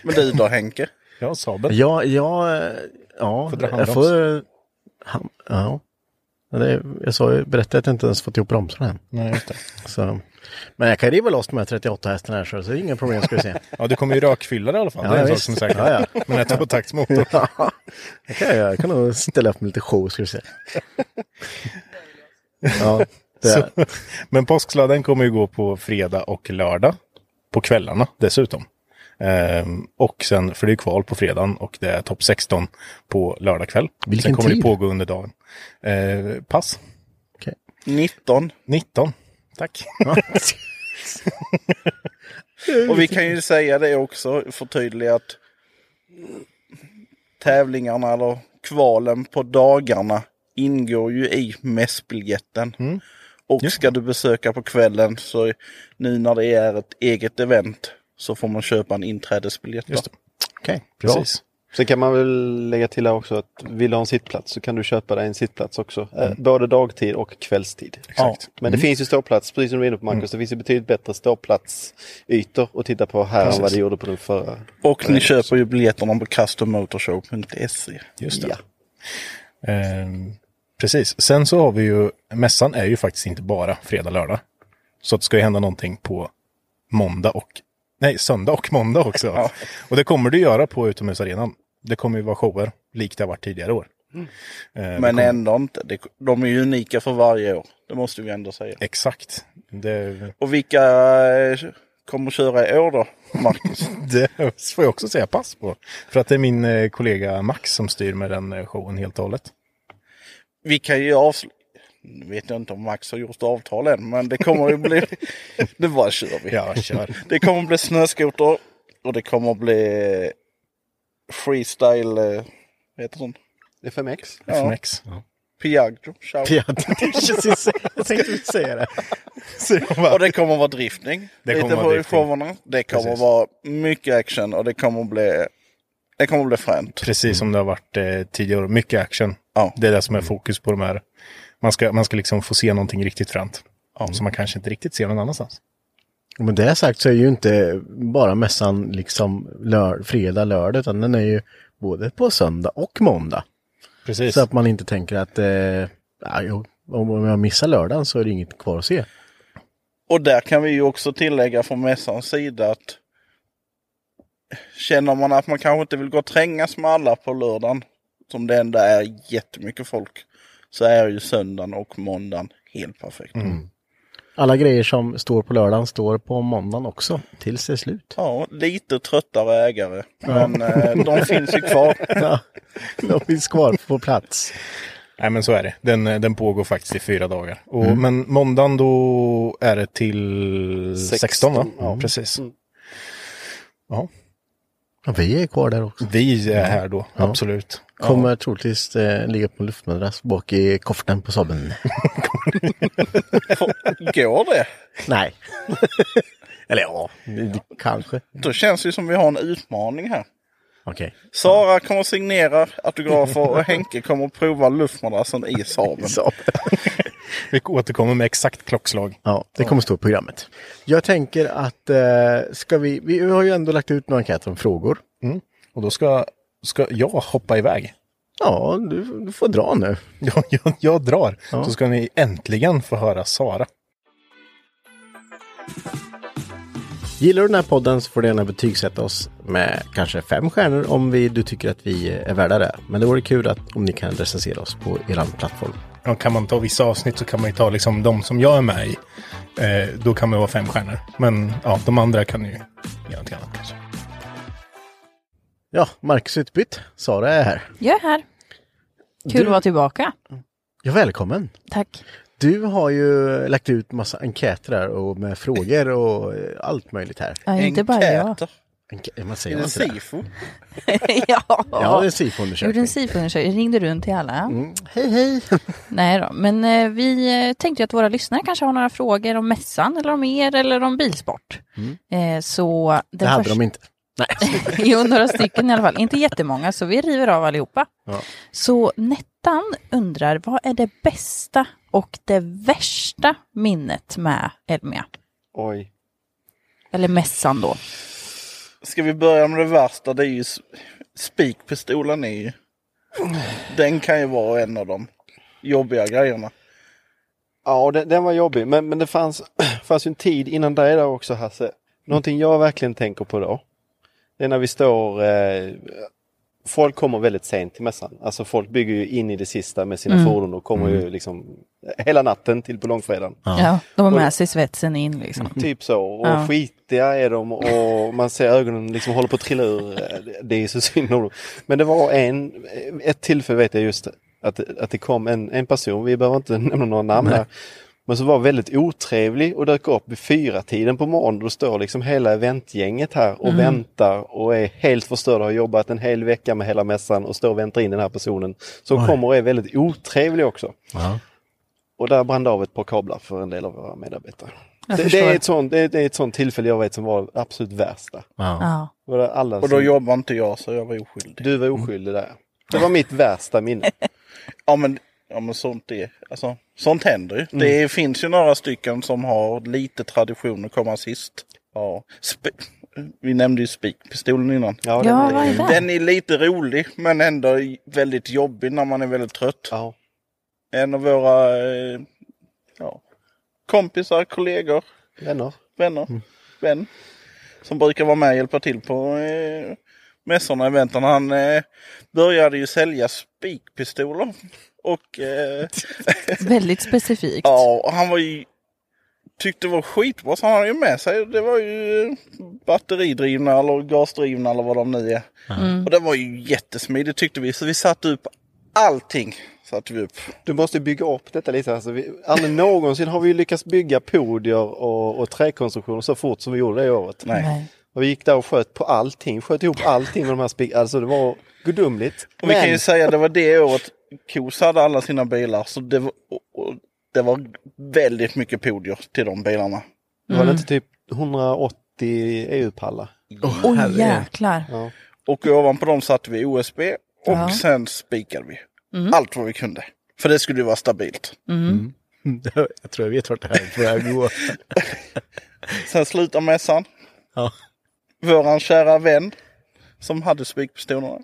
S5: Men du då Henke?
S2: Jag har Saben.
S1: Ja, ja, eh, ja.
S2: Får dra
S1: jag
S2: handbroms.
S1: får... Han, ja. Men Det, jag sa ju, berättade att jag inte ens fått ihop bromsarna än.
S2: Nej, just det.
S1: Så. Men jag kan riva loss de här 38 hästarna här så det är inga problem ska du se.
S2: <laughs> Ja, du kommer ju rökfylla det i alla fall.
S1: Ja,
S2: det är en sak
S1: visst.
S2: som är säker.
S1: Ja, ja.
S2: Med den här tvåtaktsmotorn.
S1: Ja, <laughs> det kan jag göra. Jag kan nog ställa upp med lite show ska du se. Ja, det
S2: Så,
S1: är.
S2: men påsksladden kommer ju gå på fredag och lördag. På kvällarna dessutom. Ehm, och sen, för det är kval på fredagen och det är topp 16 på lördag kväll.
S1: Vilken
S2: sen kommer
S1: tid?
S2: Eh, det pågå under dagen. Ehm, pass
S1: Okej.
S5: 19.
S2: 19 Tack.
S5: Och vi kan ju säga det också, förtydliga att tävlingarna eller kvalen på dagarna ingår ju i mässbiljetten.
S2: Mm.
S5: Och ska du besöka på kvällen så nu när det är ett eget event så får man köpa en inträdesbiljett. Just
S2: Okej,
S4: Bra. Sen kan man väl lägga till här också att vill du ha en sittplats så kan du köpa dig en sittplats också. Eh, Både dagtid och kvällstid.
S2: Exakt.
S4: Men det
S2: Mm.
S4: finns ju ståplats, precis som du var inne på Marcus, det finns ju betydligt bättre ståplatsytor att titta på här än vad
S5: Precis.
S4: det gjorde på den förra.
S5: Och ni köper ju biljetterna på custommotorshow.se.
S2: Just det. Ehm, precis. Sen så har vi ju, mässan är ju faktiskt inte bara fredag, lördag. Så att det ska ju hända någonting på måndag och, nej, söndag och måndag också. Och det kommer det göra på utomhusarenan. Det kommer ju vara shower, likt det har varit tidigare år.
S5: Mm.
S2: Ehm, det
S5: Men
S2: kommer-
S5: ändå inte. Det- De är ju unika för varje år. Det måste vi ändå säga.
S2: Exakt. Det,
S5: Och vilka eh, kommer köra i år då, Marcus?
S2: det får jag också säga pass på. För att det är min eh, kollega Max som styr med den eh, showen helt och hållet.
S5: vi kan ju avsluta... Nu vet jag inte om Max har gjort avtal än, men det kommer
S2: <laughs>
S5: ju bli... nu bara kör vi.
S2: Ja, kör.
S5: Det kommer bli snöskoter och det kommer bli freestyle... eh, Vad heter den?
S4: FMX.
S5: Ja.
S2: FMX. <laughs> Ja.
S5: Piaggio. Ciao.
S2: Piaggio, precis. Jag tänkte säga det.
S5: Och det kommer vara driftning.
S2: Det
S5: lite
S2: kommer vara
S5: på i
S2: driftning.
S5: showerna. Det kommer
S2: Precis.
S5: vara mycket action och det kommer bli... Det kommer bli fränt.
S1: Mm.
S2: Precis som det har varit eh, tidigare år. Mycket action. Det är det som är fokus på de här. Man ska, man ska liksom få se någonting riktigt fränt. Som man kanske inte riktigt ser någon annanstans.
S1: Med det sagt så är ju inte bara mässan liksom lör, fredag, lördag, utan den är ju både på söndag och måndag.
S2: Precis.
S1: Så att man inte tänker att eh, ja, jo, om om jag missar lördagen så är det inget kvar att se.
S5: Och där kan vi ju också tillägga från mässans sida att känner man att man kanske inte vill gå och trängas med alla på lördagen, som det ändå är jättemycket folk, så är ju söndagen och måndagen helt perfekt.
S2: Mm.
S1: Alla grejer som står på lördagen står på måndagen också, tills det är slut.
S2: <laughs>
S5: Ja, lite tröttare ägare,
S1: Ja.
S5: men eh, de finns ju kvar.
S1: Ja, de finns kvar på plats.
S2: Nej men så är det. Den, eh, den pågår faktiskt i fyra dagar. Och, Men måndagen då är det till 16, va?
S4: Sexton, ja.
S2: Precis. Ja.
S1: Vi är kvar där också.
S2: Vi är här då, absolut.
S1: Kommer troligtvis eh, ligga på en luftmadrass bak i koftan
S2: <laughs>
S1: på Saaben.
S5: Går det?
S1: Nej. <laughs> Eller ja, det- kanske.
S5: Då känns det ju som vi har en utmaning här.
S1: Okej.
S5: Sara kommer att signera autografer och Henke kommer att prova luftmadrassen
S2: <laughs>
S5: i Saaben.
S1: <laughs>
S2: Vi återkommer med exakt klockslag.
S1: Ja, det kommer stå i programmet. Jag tänker att eh, ska vi, vi har ju ändå lagt ut några enkät om frågor.
S2: Mm. Och då ska, ska jag hoppa iväg.
S1: Ja, du, du får dra nu.
S2: Ja, jag, jag drar. Så ska ni äntligen få höra Sara.
S1: Gillar du den här podden så får du gärna betygsätta oss med kanske fem stjärnor om vi, du tycker att vi är värda det. Men det vore kul att, om ni kan recensera oss på er plattform.
S2: Ja, kan man ta vissa avsnitt så kan man ju ta liksom de som jag är med i. Eh, då kan man vara fem stjärnor. Men ja, de andra kan ju göra någonting annat kanske.
S1: Ja, Marcus är utbytt. Sara är här.
S8: Jag är här. Kul
S1: Du-
S8: att vara tillbaka.
S1: Ja, välkommen.
S8: Tack.
S1: Du har ju lagt ut massa enkäter här och med frågor och eh, allt möjligt här.
S8: Ja, inte bara jag.
S5: Enkäter.
S1: Enkä- man
S5: Är
S1: säger
S5: det
S1: inte det.
S5: Sifo?
S8: ja.
S1: Ja, det är en
S8: Jag gjorde
S1: SIFO-undersökning. Mm.
S8: en SIFO-undersökning. Ringde runt till alla.
S1: Hej, hej.
S8: Nej då, men eh, vi eh, tänkte ju att våra lyssnare kanske har några frågor om mässan eller om er eller om bilsport. Eh, så den
S1: Det hade
S8: första-
S1: de inte. Nej.
S8: jo, några stycken i alla fall. Inte jättemånga, så vi river av allihopa.
S1: Ja.
S8: Så Nettan undrar, vad är det bästa och det värsta minnet med Elmia?
S4: Oj.
S8: Eller mässan då.
S5: Ska vi börja med det värsta? Det är ju s- spikpistolen är ju. Den kan ju vara en av de jobbiga grejerna.
S4: Ja, den, den var jobbig. Men, men det fanns, fanns ju en tid innan dig där också Hasse. Någonting jag verkligen tänker på då. Det är när vi står... Eh, folk kommer väldigt sent till mässan. Alltså folk bygger ju in i det sista med sina
S8: Mm.
S4: fordon och kommer ju liksom hela natten till på långfredagen.
S8: Ja. de har
S4: Och-
S8: med sig svetsen in liksom.
S4: Typ så. Och
S8: Ja.
S4: skitiga är de och man ser ögonen liksom håller på att trilla ur. Det är så synd om dem. Men det var en, ett tillfälle vet jag just att, att det kom en, en person, vi behöver inte nämna några namn här. Men som var väldigt otrevlig och dök upp vid fyra tiden på morgonen. Då står liksom hela eventgänget här och
S2: Mm.
S4: väntar och är helt förstörda. Har jobbat en hel vecka med hela mässan och står och väntar in den här personen. Som
S2: Oj.
S4: kommer och är väldigt otrevlig också.
S2: Ja.
S4: Och där brann det av ett par kablar för en del av våra medarbetare.
S5: Jag
S4: Det, det,
S5: förstår.
S4: är ett sånt, det, är- det är ett sånt tillfälle jag vet som var det absolut värsta.
S5: Ja.
S4: Var det alla
S5: Och då
S4: som-
S5: jobbar inte jag så jag var oskyldig.
S4: Du var oskyldig där. Det var mitt värsta minne.
S5: ja, men, ja men sånt är, alltså, sånt händer ju. Det finns ju några stycken som har lite tradition att komma sist. Ja. Sp- vi nämnde ju spikpistolen innan.
S4: Ja,
S8: den Ja, är- vad är det?
S5: den är lite rolig men ändå väldigt jobbig när man är väldigt trött. En av våra eh, ja, kompisar, kollegor,
S4: vänner,
S5: vänner vän, som brukar vara med och hjälpa till på eh, mässorna och eventen. Han eh, började ju sälja spikpistoler. Och, eh,
S8: <laughs> Väldigt specifikt.
S5: Ja, och han var ju, tyckte det var skitbra så han hade ju med sig. Det var ju eh, batteridrivna eller gasdrivna eller vad de nu är.
S8: Mm.
S5: Och det var ju jättesmidigt tyckte vi. Så vi satte upp allting. Satte vi upp.
S4: Du måste bygga upp detta lite. Alltså, vi, aldrig någonsin har vi lyckats bygga podier och, och träkonstruktioner så fort som vi gjorde det i året.
S5: Nej. Nej.
S4: Och vi gick där och sköt på allting, sköt ihop allting med de här spikarna. Alltså det var gudomligt.
S5: Och vi kan ju säga det var det året Kos hade alla sina bilar. Så det var, och, och, det var väldigt mycket podier till de bilarna.
S4: Det var det
S5: Mm.
S4: inte typ 180 E EU-pallar?
S5: Åh, Oj, herregud. jäklar.
S4: Ja.
S5: Och ovanpå dem satte vi OSB och
S4: Ja.
S5: sen spikade vi
S8: Mm.
S5: allt vad vi kunde. För det skulle ju vara stabilt.
S8: Mm.
S5: <laughs> Jag tror jag vet vart det här är på väg att gå. sen slutar mässan.
S2: Ja.
S5: Våran kära vän som hade spikpistolerna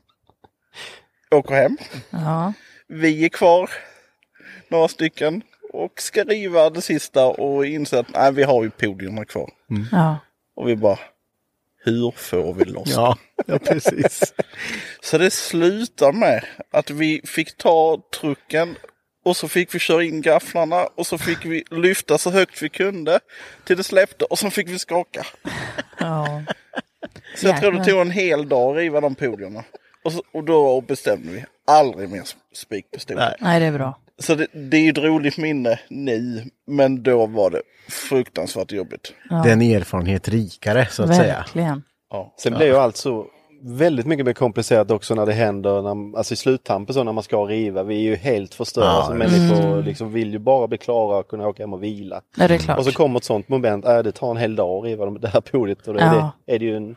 S5: åker hem.
S8: Ja.
S5: Vi är kvar, några stycken, och ska riva det sista och inse att nej, vi har ju podierna kvar.
S8: Ja.
S5: Och vi bara, hur får vi loss
S2: Ja,
S8: <laughs>
S5: ja precis. så det slutar med att vi fick ta trucken och så fick vi köra in gafflarna och så fick vi lyfta så högt vi kunde till det släppte och så fick vi skaka.
S8: Ja.
S5: Så jag tror det
S8: Jäklar.
S5: tog en hel dag att riva de podierna. Och, så, och då bestämde vi aldrig mer spikpistol.
S8: Nej, det är bra.
S5: Så det, det är ett roligt minne nu, men då var det fruktansvärt jobbigt.
S1: Det är en erfarenhet rikare så att säga.
S8: Verkligen.
S4: Sen blir ju allt så väldigt mycket mer komplicerat också när det händer, när, alltså i sluttampen så när man ska riva. Vi är ju helt förstörda
S1: Ja,
S4: som
S1: ja.
S4: Alltså, människor.
S1: Mm.
S4: Liksom vill ju bara bli klara och kunna åka hem och vila.
S8: Ja, det är klart.
S4: Och så kommer ett sånt moment, äh, det tar en hel dag att riva de- det här podiet. Och då är,
S8: Ja.
S4: det, är det ju en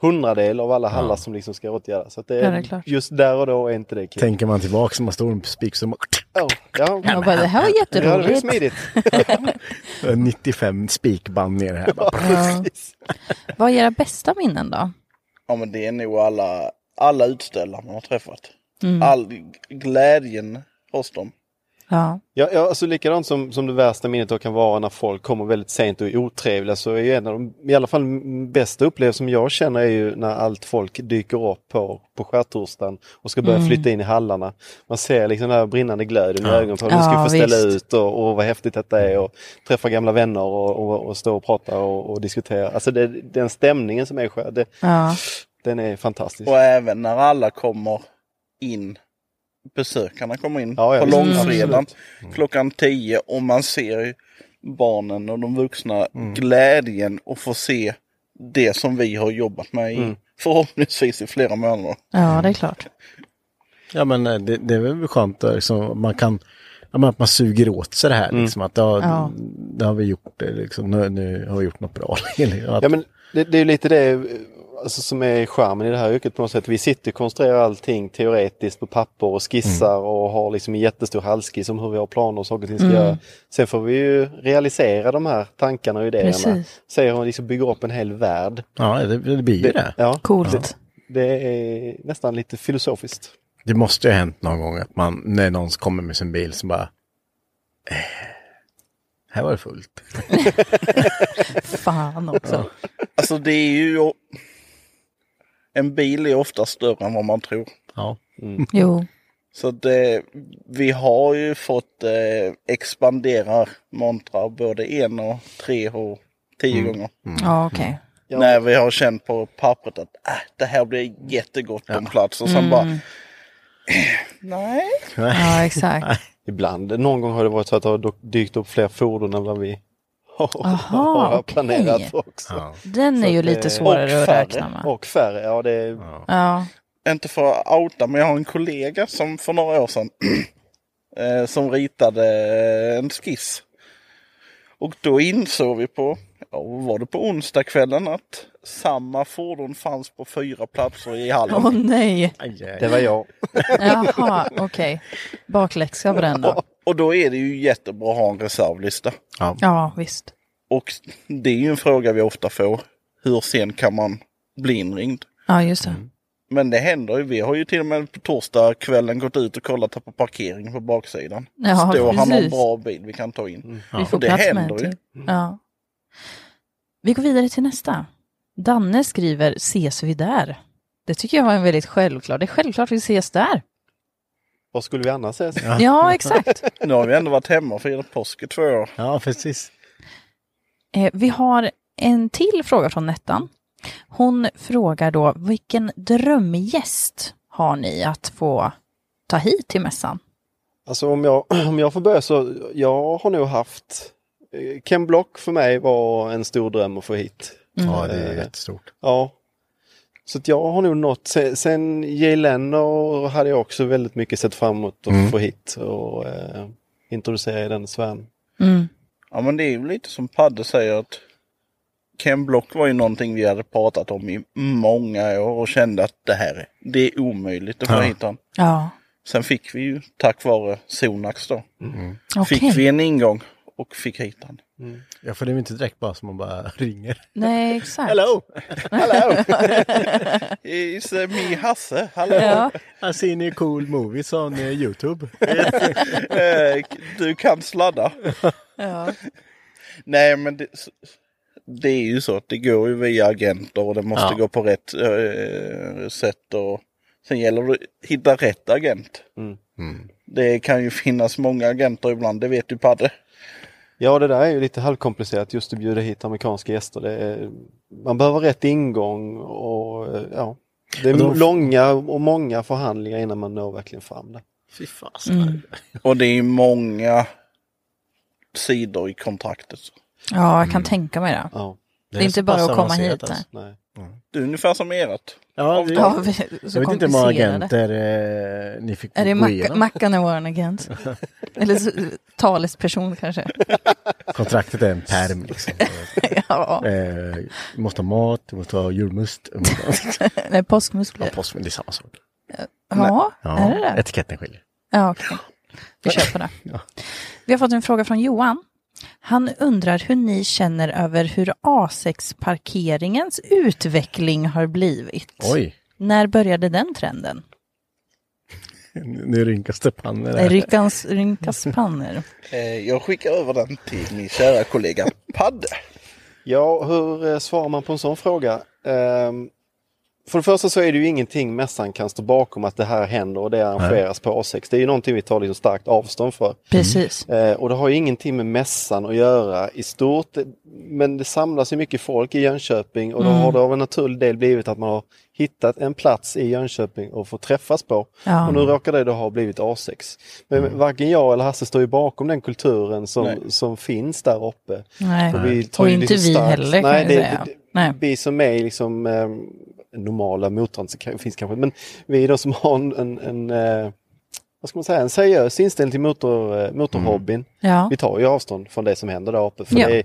S4: hundradel av alla hallar som liksom ska åtgärdas. Så att det är,
S8: Ja, det är klart.
S4: just där och då är inte det kul.
S1: Tänker man tillbaka så man står med spik som
S4: Ja, ja.
S8: Jag bara, det här var jätteroligt.
S4: Ja, det var ju
S1: <laughs>
S4: smidigt.
S1: 95 spikband ner här.
S4: <laughs>
S1: Bara,
S8: Ja. Vad är era bästa minnen då?
S5: Ja men det är nog alla, alla utställare man har träffat.
S8: Mm.
S5: All glädjen hos dem.
S8: Ja.
S4: Ja, ja alltså likadant som, som det värsta minnet då kan vara när folk kommer väldigt sent och är otrevliga så är ju en av de i alla fall m- bästa upplevelser som jag känner är ju när allt folk dyker upp på, på skärtorsdagen och ska börja
S2: Mm.
S4: flytta in i hallarna. Man ser liksom den här brinnande glöden i
S2: Ja.
S4: ögonen på dem. Nu ska vi
S2: Ja,
S4: få ställa
S2: visst.
S4: ut och, och vad häftigt detta är och träffa gamla vänner och, och, och stå och prata och, och diskutera. Alltså det, den stämningen som är skär, det,
S8: Ja.
S4: den är fantastisk.
S5: Och även när alla kommer in, besökarna kommer in
S4: Ja, ja,
S5: på
S4: visst.
S5: långfredagen
S4: Absolut.
S5: klockan 10 och man ser ju barnen och de vuxna
S4: Mm.
S5: glädjen och få se det som vi har jobbat med i,
S1: Mm.
S5: förhoppningsvis i flera månader.
S8: Ja, det är klart.
S1: Ja men eh, det, det är väl skönt att liksom, man kan, ja, men att man suger åt sig det här
S4: Mm.
S1: liksom. Att ja,
S4: Ja.
S1: det har vi gjort, eh, liksom, nu, nu har vi gjort något bra. <laughs> Eller att-
S4: Ja, men det, det är ju lite det eh, alltså, som är charmen i det här yrket på något sätt. Vi sitter och konstruerar allting teoretiskt på papper och skissar
S1: Mm.
S4: och har liksom en jättestor halsskiss om hur vi har planer och saker och ting ska
S2: Mm.
S4: göra. Sen får vi ju realisera de här tankarna och idéerna.
S2: Precis.
S4: Se hur man liksom bygger upp en hel värld.
S1: Ja, det, det blir ju det.
S4: Ja,
S8: Coolt.
S4: Det, det är nästan lite filosofiskt.
S1: Det måste ju ha hänt någon gång att man, när någon kommer med sin bil så bara, "Eh, här var det fullt.
S8: Fan också.
S5: Alltså det är ju... En bil är ofta större än vad man tror.
S1: Ja.
S8: Jo.
S5: Så det, vi har ju fått eh, expandera montrar både en och tre och tio gånger.
S8: Ja, okej.
S5: När vi har känt på pappret att äh, det här blir jättegott på en plats och sen
S8: Mm.
S5: bara... Nej.
S8: Ja, exakt.
S4: Ibland, någon gång har det varit så att det har dykt upp fler fordon än vad vi har,
S8: Aha,
S4: <laughs> har
S8: okej.
S4: planerat också.
S8: Den är
S4: Så
S8: ju
S4: att det-
S8: lite svårare att räkna med.
S4: Och färre, ja det är...
S8: Ja.
S5: Inte för att outa, men jag har en kollega som för några år sedan <clears throat> eh, som ritade eh, en skiss. Och då insåg vi på, ja, var det på onsdagskvällen att samma fordon fanns på fyra platser i hallen.
S8: Åh nej!
S4: Det var jag.
S8: Jaha, okej. Bakläxa på den då.
S5: Och, och då är det ju jättebra att ha en reservlista.
S8: Ja, visst.
S5: Och det är ju en fråga vi ofta får. Hur sen kan man bli inringd?
S8: Ja, just det.
S5: Men det händer ju. Vi har ju till och med på torsdag kvällen gått ut och kollat här på parkeringen på baksidan.
S8: Ja,
S5: Står han har en
S8: precis. typ.
S5: bra bil vi kan ta
S1: Mm.
S5: in.
S8: Vi får
S5: Och det
S8: plats med en
S5: händer ju.
S8: till. Ja. Vi går vidare till nästa. Danne skriver ses vi där? Det tycker jag var en väldigt självklar. Det är självklart vi ses där.
S4: Vad skulle vi annars ses?
S8: Ja. Ja, exakt.
S5: nu har vi ändå varit hemma och firat påsk i två år.
S1: Ja, precis.
S8: Eh, vi har en till fråga från Nettan. Hon frågar då vilken drömgäst har ni att få ta hit till mässan?
S4: Alltså om jag, <clears throat> om jag får börja så, jag har nog haft... eh, Ken Block för mig var en stor dröm att få hit.
S1: Mm. Ja, det är
S4: Eh,
S1: jättestort.
S4: Ja. Så att jag har nog nått, sen, sen Jay Leno hade jag också väldigt mycket sett fram emot att
S5: Mm.
S4: få hit och eh, introducera i den sfären.
S5: Ja men det är ju lite som Padde säger att Ken Block var ju någonting vi hade pratat om i många år och kände att det här det är omöjligt att få
S8: Ja.
S5: hit han.
S8: Ja.
S5: Sen fick vi ju tack vare Sonax då.
S8: Okej.
S5: Fick vi en ingång och fick hit han.
S1: Ja, för det är ju inte direkt bara som man bara <laughs> ringer.
S8: Nej, exakt.
S1: Hello!
S5: Hello! It's eh, me Hasse, hallå!
S1: I seen a cool movies on eh, Youtube.
S5: Eh, du kan sladda.
S8: <laughs> Ja.
S5: <laughs> Nej men det, det är ju så att det går ju via agenter och det måste
S4: Ja.
S5: gå på rätt eh, sätt. Och, sen gäller det att hitta rätt agent. Det kan ju finnas många agenter ibland, det vet du Padde.
S4: Ja, det där är ju lite halvkomplicerat just att bjuda hit amerikanska gäster. Det är, man behöver rätt ingång och eh, ja, det är
S5: Och då-
S4: långa och många förhandlingar innan man når verkligen fram det.
S1: Fy fasen.
S8: Mm.
S5: Och det är ju många sidor i kontraktet.
S8: Ja, jag kan tänka mig det.
S4: Ja.
S8: Det är inte bara att komma hit. nej.
S5: Det är ungefär som ert.
S1: Ja, vi,
S8: Ja, vi- så
S1: jag vet inte hur många
S8: komplicerade.
S1: agenter eh, ni fick
S8: Är det
S1: gå
S8: Mac-
S1: igenom.
S8: Mackan är vår agent? Eller så, talesperson kanske?
S1: Kontraktet är en
S8: <laughs>
S1: pärm liksom.
S8: ja.
S1: Eh, du måste ha mat, du måste ha julmust. du måste ha-
S8: <laughs> Nej, påskmuskler.
S1: Ja, post, men det är samma sak.
S8: Ja, är det det?
S1: Etiketten skiljer.
S8: Ja, okej. Vi
S1: <laughs>
S8: kör på det. Vi har fått en fråga från Johan. Han undrar hur ni känner över hur A6-parkeringens utveckling har blivit.
S1: Oj.
S8: När började den trenden?
S1: Nu rynkas det pannor. här.
S8: Ryckans, rynkas pannor.
S5: Eh, Jag skickar över den till min kära kollega Padde.
S4: Ja, hur eh, svarar man på en sån fråga? Ehm, för det första så är det ju ingenting mässan kan stå bakom att det här händer och det arrangeras på A6. Det är ju någonting vi tar liksom starkt avstånd för.
S8: Precis.
S4: Eh, och det har ju ingenting med mässan att göra i stort. Men det samlas ju mycket folk i Jönköping och då
S8: Mm.
S4: har det av en naturlig del blivit att man har hittat en plats i Jönköping och får träffas på.
S8: Ja.
S4: Och nu råkar det då ha blivit A6. Men varken jag eller Hasse står ju bakom den kulturen som, som finns där uppe.
S8: Nej.
S4: För
S8: Nej.
S4: tar
S8: Och
S4: ju
S8: inte
S4: liksom
S8: vi
S4: starkt-
S8: heller, kan
S4: Nej,
S8: jag
S4: det,
S8: säga.
S4: det-
S8: Nej.
S4: Vi som är liksom eh, normala motorn så kan- finns kanske, men vi är de som har en, en, en eh, vad ska man säga, en seriös inställning till motor, eh, motorhobbyn.
S8: Mm. Ja.
S4: Vi tar ju avstånd från det som händer där uppe. För
S8: Ja.
S4: det, är,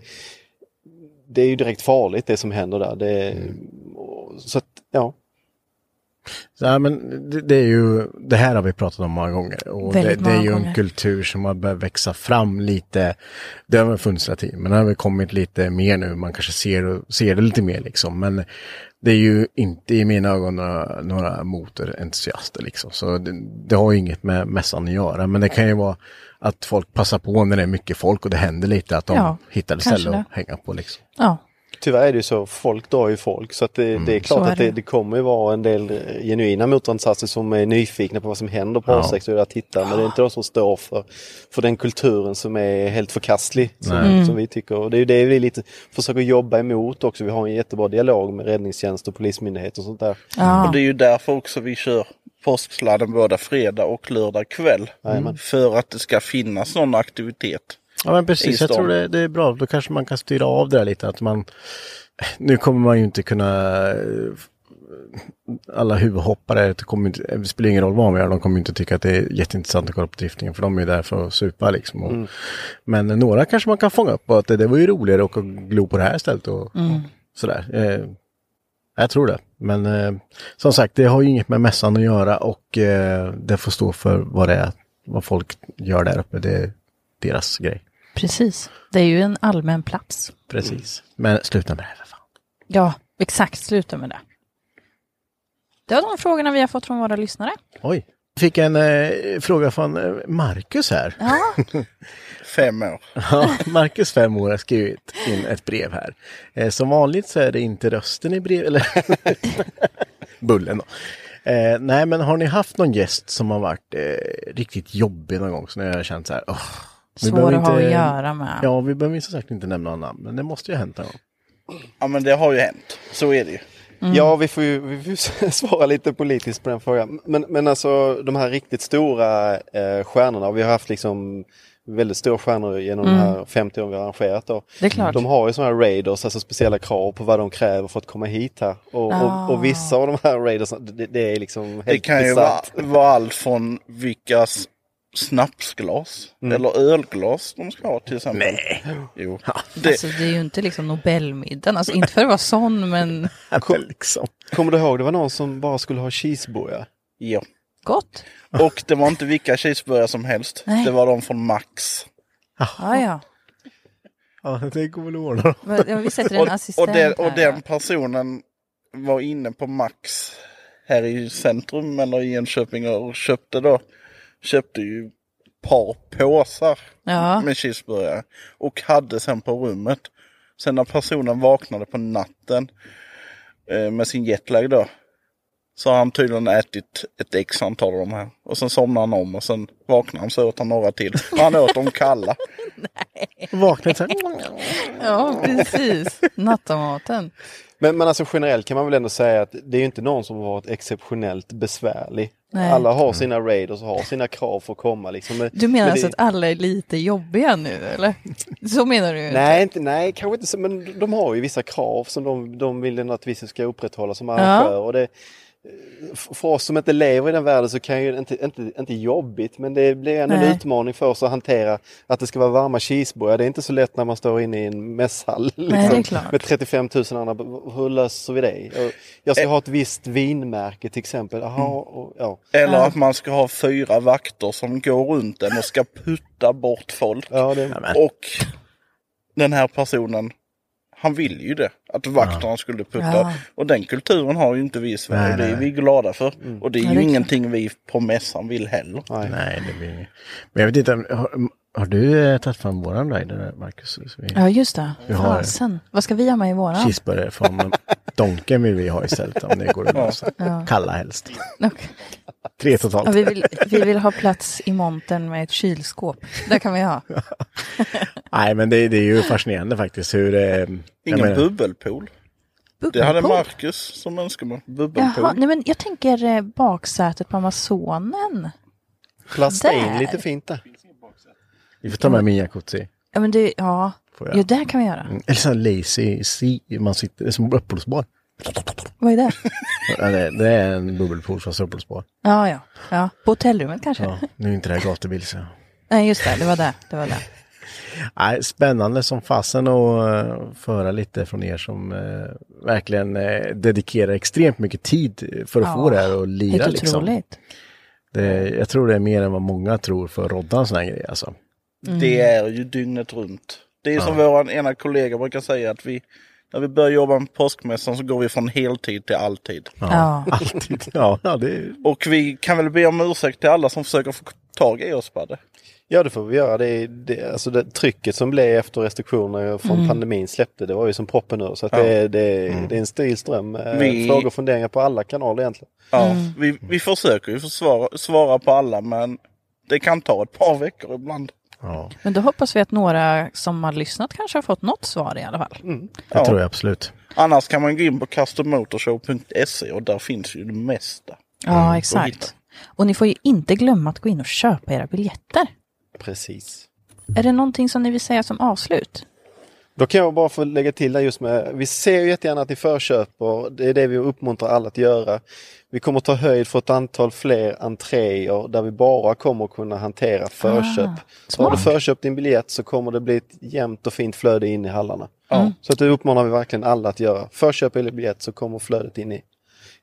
S4: det är ju direkt farligt det som händer där. Det är, och- Så att, ja.
S1: Så, ja, men det, det, är ju, det här har vi pratat om många gånger och det,
S4: Väldigt
S1: det är
S4: många
S1: ju en
S4: gånger.
S1: kultur som har börjat växa fram lite. Det har väl funnits hela tiden, men det har väl kommit lite mer nu. Man kanske ser, ser det lite mer liksom. Men det är ju inte i mina ögon några, några motorentusiaster liksom. Så det, det har ju inget med mässan att göra. Men det kan ju vara att folk passar på när det är mycket folk och det händer lite. Att de
S8: Ja,
S1: hittar ett
S8: kanske
S1: ställe att
S8: det.
S1: hänga på liksom.
S8: Ja.
S4: Tyvärr är det ju så, folk drar ju folk. Så att det, det är klart
S8: Så är
S4: att det,
S8: det.
S4: det kommer ju vara en del eh, genuina motorentusiaster som är nyfikna på vad som händer på
S1: Ja.
S4: A6 och vill titta. Men det är inte de som står för, för den kulturen som är helt förkastlig. Som,
S1: Nej. Mm.
S4: som vi tycker. Och det är ju det vi lite försöker jobba emot också. Vi har en jättebra dialog med räddningstjänst och polismyndighet och sånt där.
S8: Ja.
S5: Och det är ju därför också vi kör påsksladden både fredag och lördag kväll.
S1: Jajamän.
S5: För att det ska finnas någon aktivitet.
S1: Ja men
S5: i
S1: precis, jag
S5: stan.
S1: tror det, det är bra. Då kanske man kan styra av det där lite. Att man, nu kommer man ju inte kunna... eh, Alla huvudhoppare, det, kommer inte, det spelar ingen roll vad man gör, de kommer inte tycka att det är jätteintressant att kolla på driftningen. För de är ju där för att supa liksom. Och,
S8: Mm.
S1: Men några kanske man kan fånga upp. Och att det, det var ju roligare att åka och glo på det här stället. Och,
S8: Mm.
S1: Sådär. Eh, jag tror det. Men eh, som sagt, det har ju inget med mässan att göra och eh, det får stå för vad det är, vad folk gör där uppe. Det är deras grej.
S8: Precis. Det är ju en allmän plats.
S1: Precis. Mm. Men sluta med det. här.
S8: Ja, exakt. Sluta med det. Det var de frågorna vi har fått från våra lyssnare.
S1: Oj. Jag fick en eh, fråga från eh, Marcus här. <laughs>
S5: Fem år.
S1: Ja, Marcus fem år har skrivit in ett brev här. Eh, som vanligt så är det inte rösten i brev, eller <laughs> bullen då. Eh, nej, men har ni haft någon gäst som har varit eh, riktigt jobbig någon gång? Så när jag har känt så här, åh. vi
S8: Svår
S1: behöver
S8: att ha att göra med.
S1: Ja, vi behöver ju som sagt inte nämna några namn, men det måste ju ha hänt någon gång.
S5: Ja men det har ju hänt. Så är det ju.
S8: Mm.
S4: Ja, vi får ju, vi får ju <laughs> svara lite politiskt på den frågan. Men, men alltså de här riktigt stora eh, stjärnorna, och vi har haft liksom väldigt stora stjärnor genom de här
S8: Mm.
S4: 50 åren vi har arrangerat. Då.
S8: Det är klart.
S4: De har ju sådana här raiders, alltså speciella krav på vad de kräver för att komma hit här. Och,
S5: Ah.
S4: och, och vissa av de här raiders, det, det är liksom helt
S5: Det kan ju vara,
S1: <laughs>
S4: besatt.
S5: vara allt från vilka s- snapsglas eller ölglas de ska ha till exempel. Nej. Jo.
S8: Det... Alltså, det är ju inte liksom Nobelmiddagen. Alltså, inte för att vara sån, men
S1: liksom.
S4: Kommer du ihåg, det var någon som bara skulle ha cheeseburgare?
S5: Ja.
S8: Gott.
S5: Och det var inte vilka cheeseburgare som helst.
S8: Nej.
S5: Det var de från Max.
S8: ja, ja.
S1: Ja, det går väl att ordna
S8: Vad- ja, vi sätter en
S5: och,
S8: assistent
S5: och den,
S8: här,
S5: och den personen var inne på Max här i centrum eller i Enköping och köpte då köpte ju ett par påsar
S8: Ja.
S5: med cheeseburgare och hade sen på rummet. Sen när personen vaknade på natten eh, med sin jetlag då så har han tydligen ätit ett x antal av de här. Och sen somnar han om och sen vaknar han så åt han några till. Och han åt dem kalla.
S1: Vaknade så
S8: <laughs> Ja, precis. Nattamaten.
S4: Men, men alltså generellt kan man väl ändå säga att det är ju inte någon som har varit exceptionellt besvärlig.
S8: Nej.
S4: Alla har sina raiders och har sina krav för att komma. Liksom. Men-
S8: Du menar
S4: men
S8: alltså
S4: det-
S8: att alla är lite jobbiga nu, eller? Så menar du?
S4: Nej, inte, nej, kanske inte så, men de har ju vissa krav som de, de vill ändå att vi ska upprätthålla som arrangör. Och det, för oss som inte lever i den världen så kan ju inte, inte, inte jobbigt, men det blir ändå
S8: Nej.
S4: en utmaning för oss att hantera att det ska vara varma cheeseburgare. Det är inte så lätt när man står inne i en mässhall liksom,
S8: det är klart.
S4: med 35 000 andra. Hur löser vi det? Och Jag
S1: Eh.
S4: ska ha ett visst vinmärke till exempel.
S1: Mm.
S4: Aha, och, ja.
S5: Eller att man ska ha fyra vakter som går runt en och ska putta bort folk. Och den här personen, han vill ju det. Att vakterna skulle putta.
S8: Ja.
S5: Och den kulturen har ju inte vi i Sverige.
S1: Nej,
S5: och det är
S1: nej.
S5: vi glada för.
S1: Mm.
S5: Och det är
S8: Ja,
S5: ju
S8: det är
S5: ingenting vi på mässan vill heller.
S1: Nej, det blir inget. Men jag vet inte, har, har du eh, tagit fram våran rider, Marcus? Så vi-
S8: Ja, just det.
S1: Vi har-
S8: Fasen. Vad ska vi ha med i våran?
S1: Cheeseburgare från Donken vill vi ha istället om det går att lösa.
S8: Ja.
S1: Kalla helst.
S8: Okej.
S1: Tre totalt.
S8: Ja, vi, vill, vi vill ha plats i montern med ett kylskåp. Där kan vi ha.
S1: Nej, men det, det är ju fascinerande faktiskt hur... Eh, jag
S5: Ingen
S1: menar-
S5: bubbelpool. Det hade
S8: Bubbelpool?
S5: Marcus som önskemål. Bubbelpool.
S8: Jaha, nej men jag tänker eh, baksätet på Amazonen.
S4: Plasta in
S8: Där.
S4: lite fint där.
S1: Vi får ta med min jacuzzi.
S8: Ja, men det, ja.
S1: Får jag?
S8: ja det kan vi göra.
S1: Mm. Eller sån här lazy sea, man sitter som uppblåsbar.
S8: Vad är det?
S1: Ja, det, det är en bubbelpool fast uppblåsbar.
S8: Ja, ja. ja. På hotellrummet kanske?
S1: Ja, nu är inte det här gatubil så.
S8: Nej, just det. Det var det. det, var det.
S1: Nej, spännande som fasen att eh, föra lite från er som eh, verkligen eh, dedikerar extremt mycket tid för att
S8: Ja,
S1: få det här och lira.
S8: helt
S1: liksom.
S8: otroligt.
S1: det, jag tror det är mer än vad många tror för att rodda en sån här grej. Alltså. <laughs>
S5: Det är ju dygnet runt. Det är som vår ena kollega brukar säga att vi när vi börjar jobba med påskmässan så går vi från heltid till alltid.
S1: Ja. Alltid. Ja, ja, det är
S5: Och vi kan väl be om ursäkt till alla som försöker få tag i oss på det.
S4: Ja, det får vi göra. Det, är- det, alltså det trycket som blev efter restriktioner från
S5: Mm.
S4: pandemin släppte, det var ju som proppen ur. Så att
S5: Ja.
S4: det, är- det, är-
S1: Mm.
S4: det är en stor ström. eh,
S5: Vi-
S4: Frågor och funderingar på alla kanaler egentligen.
S5: Ja,
S8: Mm.
S5: vi, vi försöker ju svara, svara på alla men det kan ta ett par veckor ibland.
S8: Men då hoppas vi att några som har lyssnat kanske har fått något svar i alla fall.
S1: Det tror jag absolut.
S5: Annars kan man gå in på custommotorshow.se och där finns ju det mesta.
S8: Ja,
S4: och hitta.
S8: exakt. Och ni får ju inte glömma att gå in och köpa era biljetter.
S4: Precis.
S8: Är det någonting som ni vill säga som avslut?
S4: Då kan jag bara få lägga till det just med, vi ser ju jättegärna att ni förköper, det är det vi uppmuntrar alla att göra. Vi kommer ta höjd för ett antal fler entréer där vi bara kommer kunna hantera förköp. så har du
S2: smart.
S4: förköpt din biljett så kommer det bli ett jämnt och fint flöde in i hallarna. Så att det uppmanar vi verkligen alla att göra. Förköp eller biljett så kommer flödet in, i,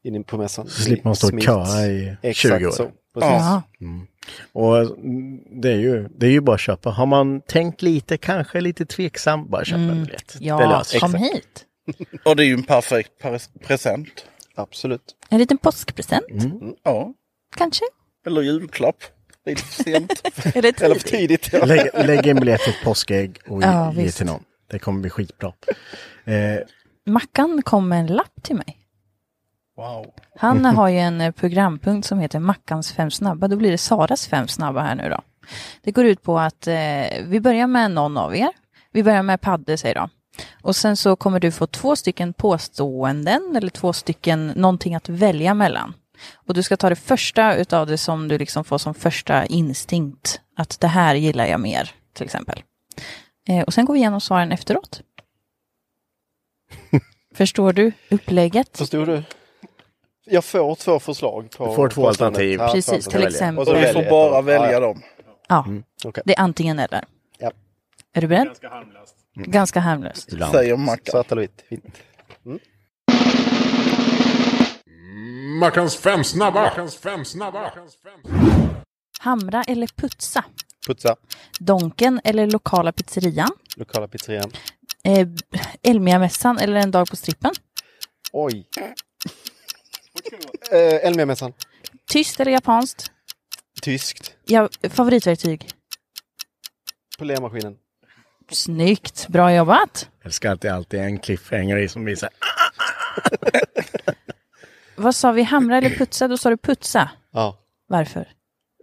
S4: in på mässan.
S1: Så slipper man stå och
S4: Smidigt.
S1: köa i 20 år.
S4: Exakt så. Precis.
S1: Ja. Och mm, det är, ju, det är ju bara att köpa. Har man tänkt lite, kanske lite tveksam, bara
S8: Mm.
S1: köpa en biljett. Det löser sig.
S8: hit.
S5: Och det är ju en perfekt pres- present.
S4: Absolut.
S8: En liten påskpresent,
S1: Mm.
S5: Ja.
S8: kanske?
S5: Eller julklapp. Det är lite för sent.
S8: <laughs> Är det
S5: Eller för tidigt. Ja.
S1: Lägg, lägg en biljett till ett påskägg och ge,
S8: Ja,
S1: ge
S8: visst.
S1: till någon. Det kommer bli skitbra. Eh,
S8: Mackan kom med en lapp till mig.
S5: Wow.
S8: Han har ju en eh, programpunkt som heter Mackans fem snabba. Då blir det Saras fem snabba här nu då. Det går ut på att eh, vi börjar med någon av er. Vi börjar med Padde säger de. Och sen så kommer du få två stycken påståenden eller två stycken någonting att välja mellan. Och du ska ta det första utav det som du liksom får som första instinkt. Att det här gillar jag mer till exempel. Eh, och sen går vi igenom svaren efteråt. Förstår du upplägget?
S4: Förstår du? Jag får två förslag. På
S1: Du får två
S4: på
S1: alternativ.
S4: standard. Ja,
S8: Precis,
S4: två alternativ.
S8: till exempel.
S4: Och så
S8: Och vi
S4: väljer
S5: får
S4: jag
S5: bara
S4: då.
S5: välja
S4: Ja.
S5: dem.
S8: Ja,
S4: okej.
S8: det är antingen eller.
S4: Ja.
S8: Är du beredd? Ganska harmlöst. Ganska harmlöst.
S5: Säger Mackan.
S4: Svart eller vitt. vitt.
S9: Mackans fem snabba! Mackans fem snabba!
S8: Hamra eller putsa?
S4: Putsa.
S8: Donken eller lokala pizzerian?
S4: Lokala pizzerian.
S8: Eh, Elmia-mässan eller en dag på strippen?
S4: Oj. <laughs> Eh, Elmiamässan.
S8: Tyskt eller japanskt?
S4: Tyskt.
S8: Ja, favoritverktyg?
S4: Polermaskinen.
S8: Snyggt, bra jobbat.
S1: jag älskar att det alltid är en cliffhanger i som visar.
S8: Vad sa vi, hamra eller putsa? Då sa du putsa.
S4: Ja.
S8: Varför?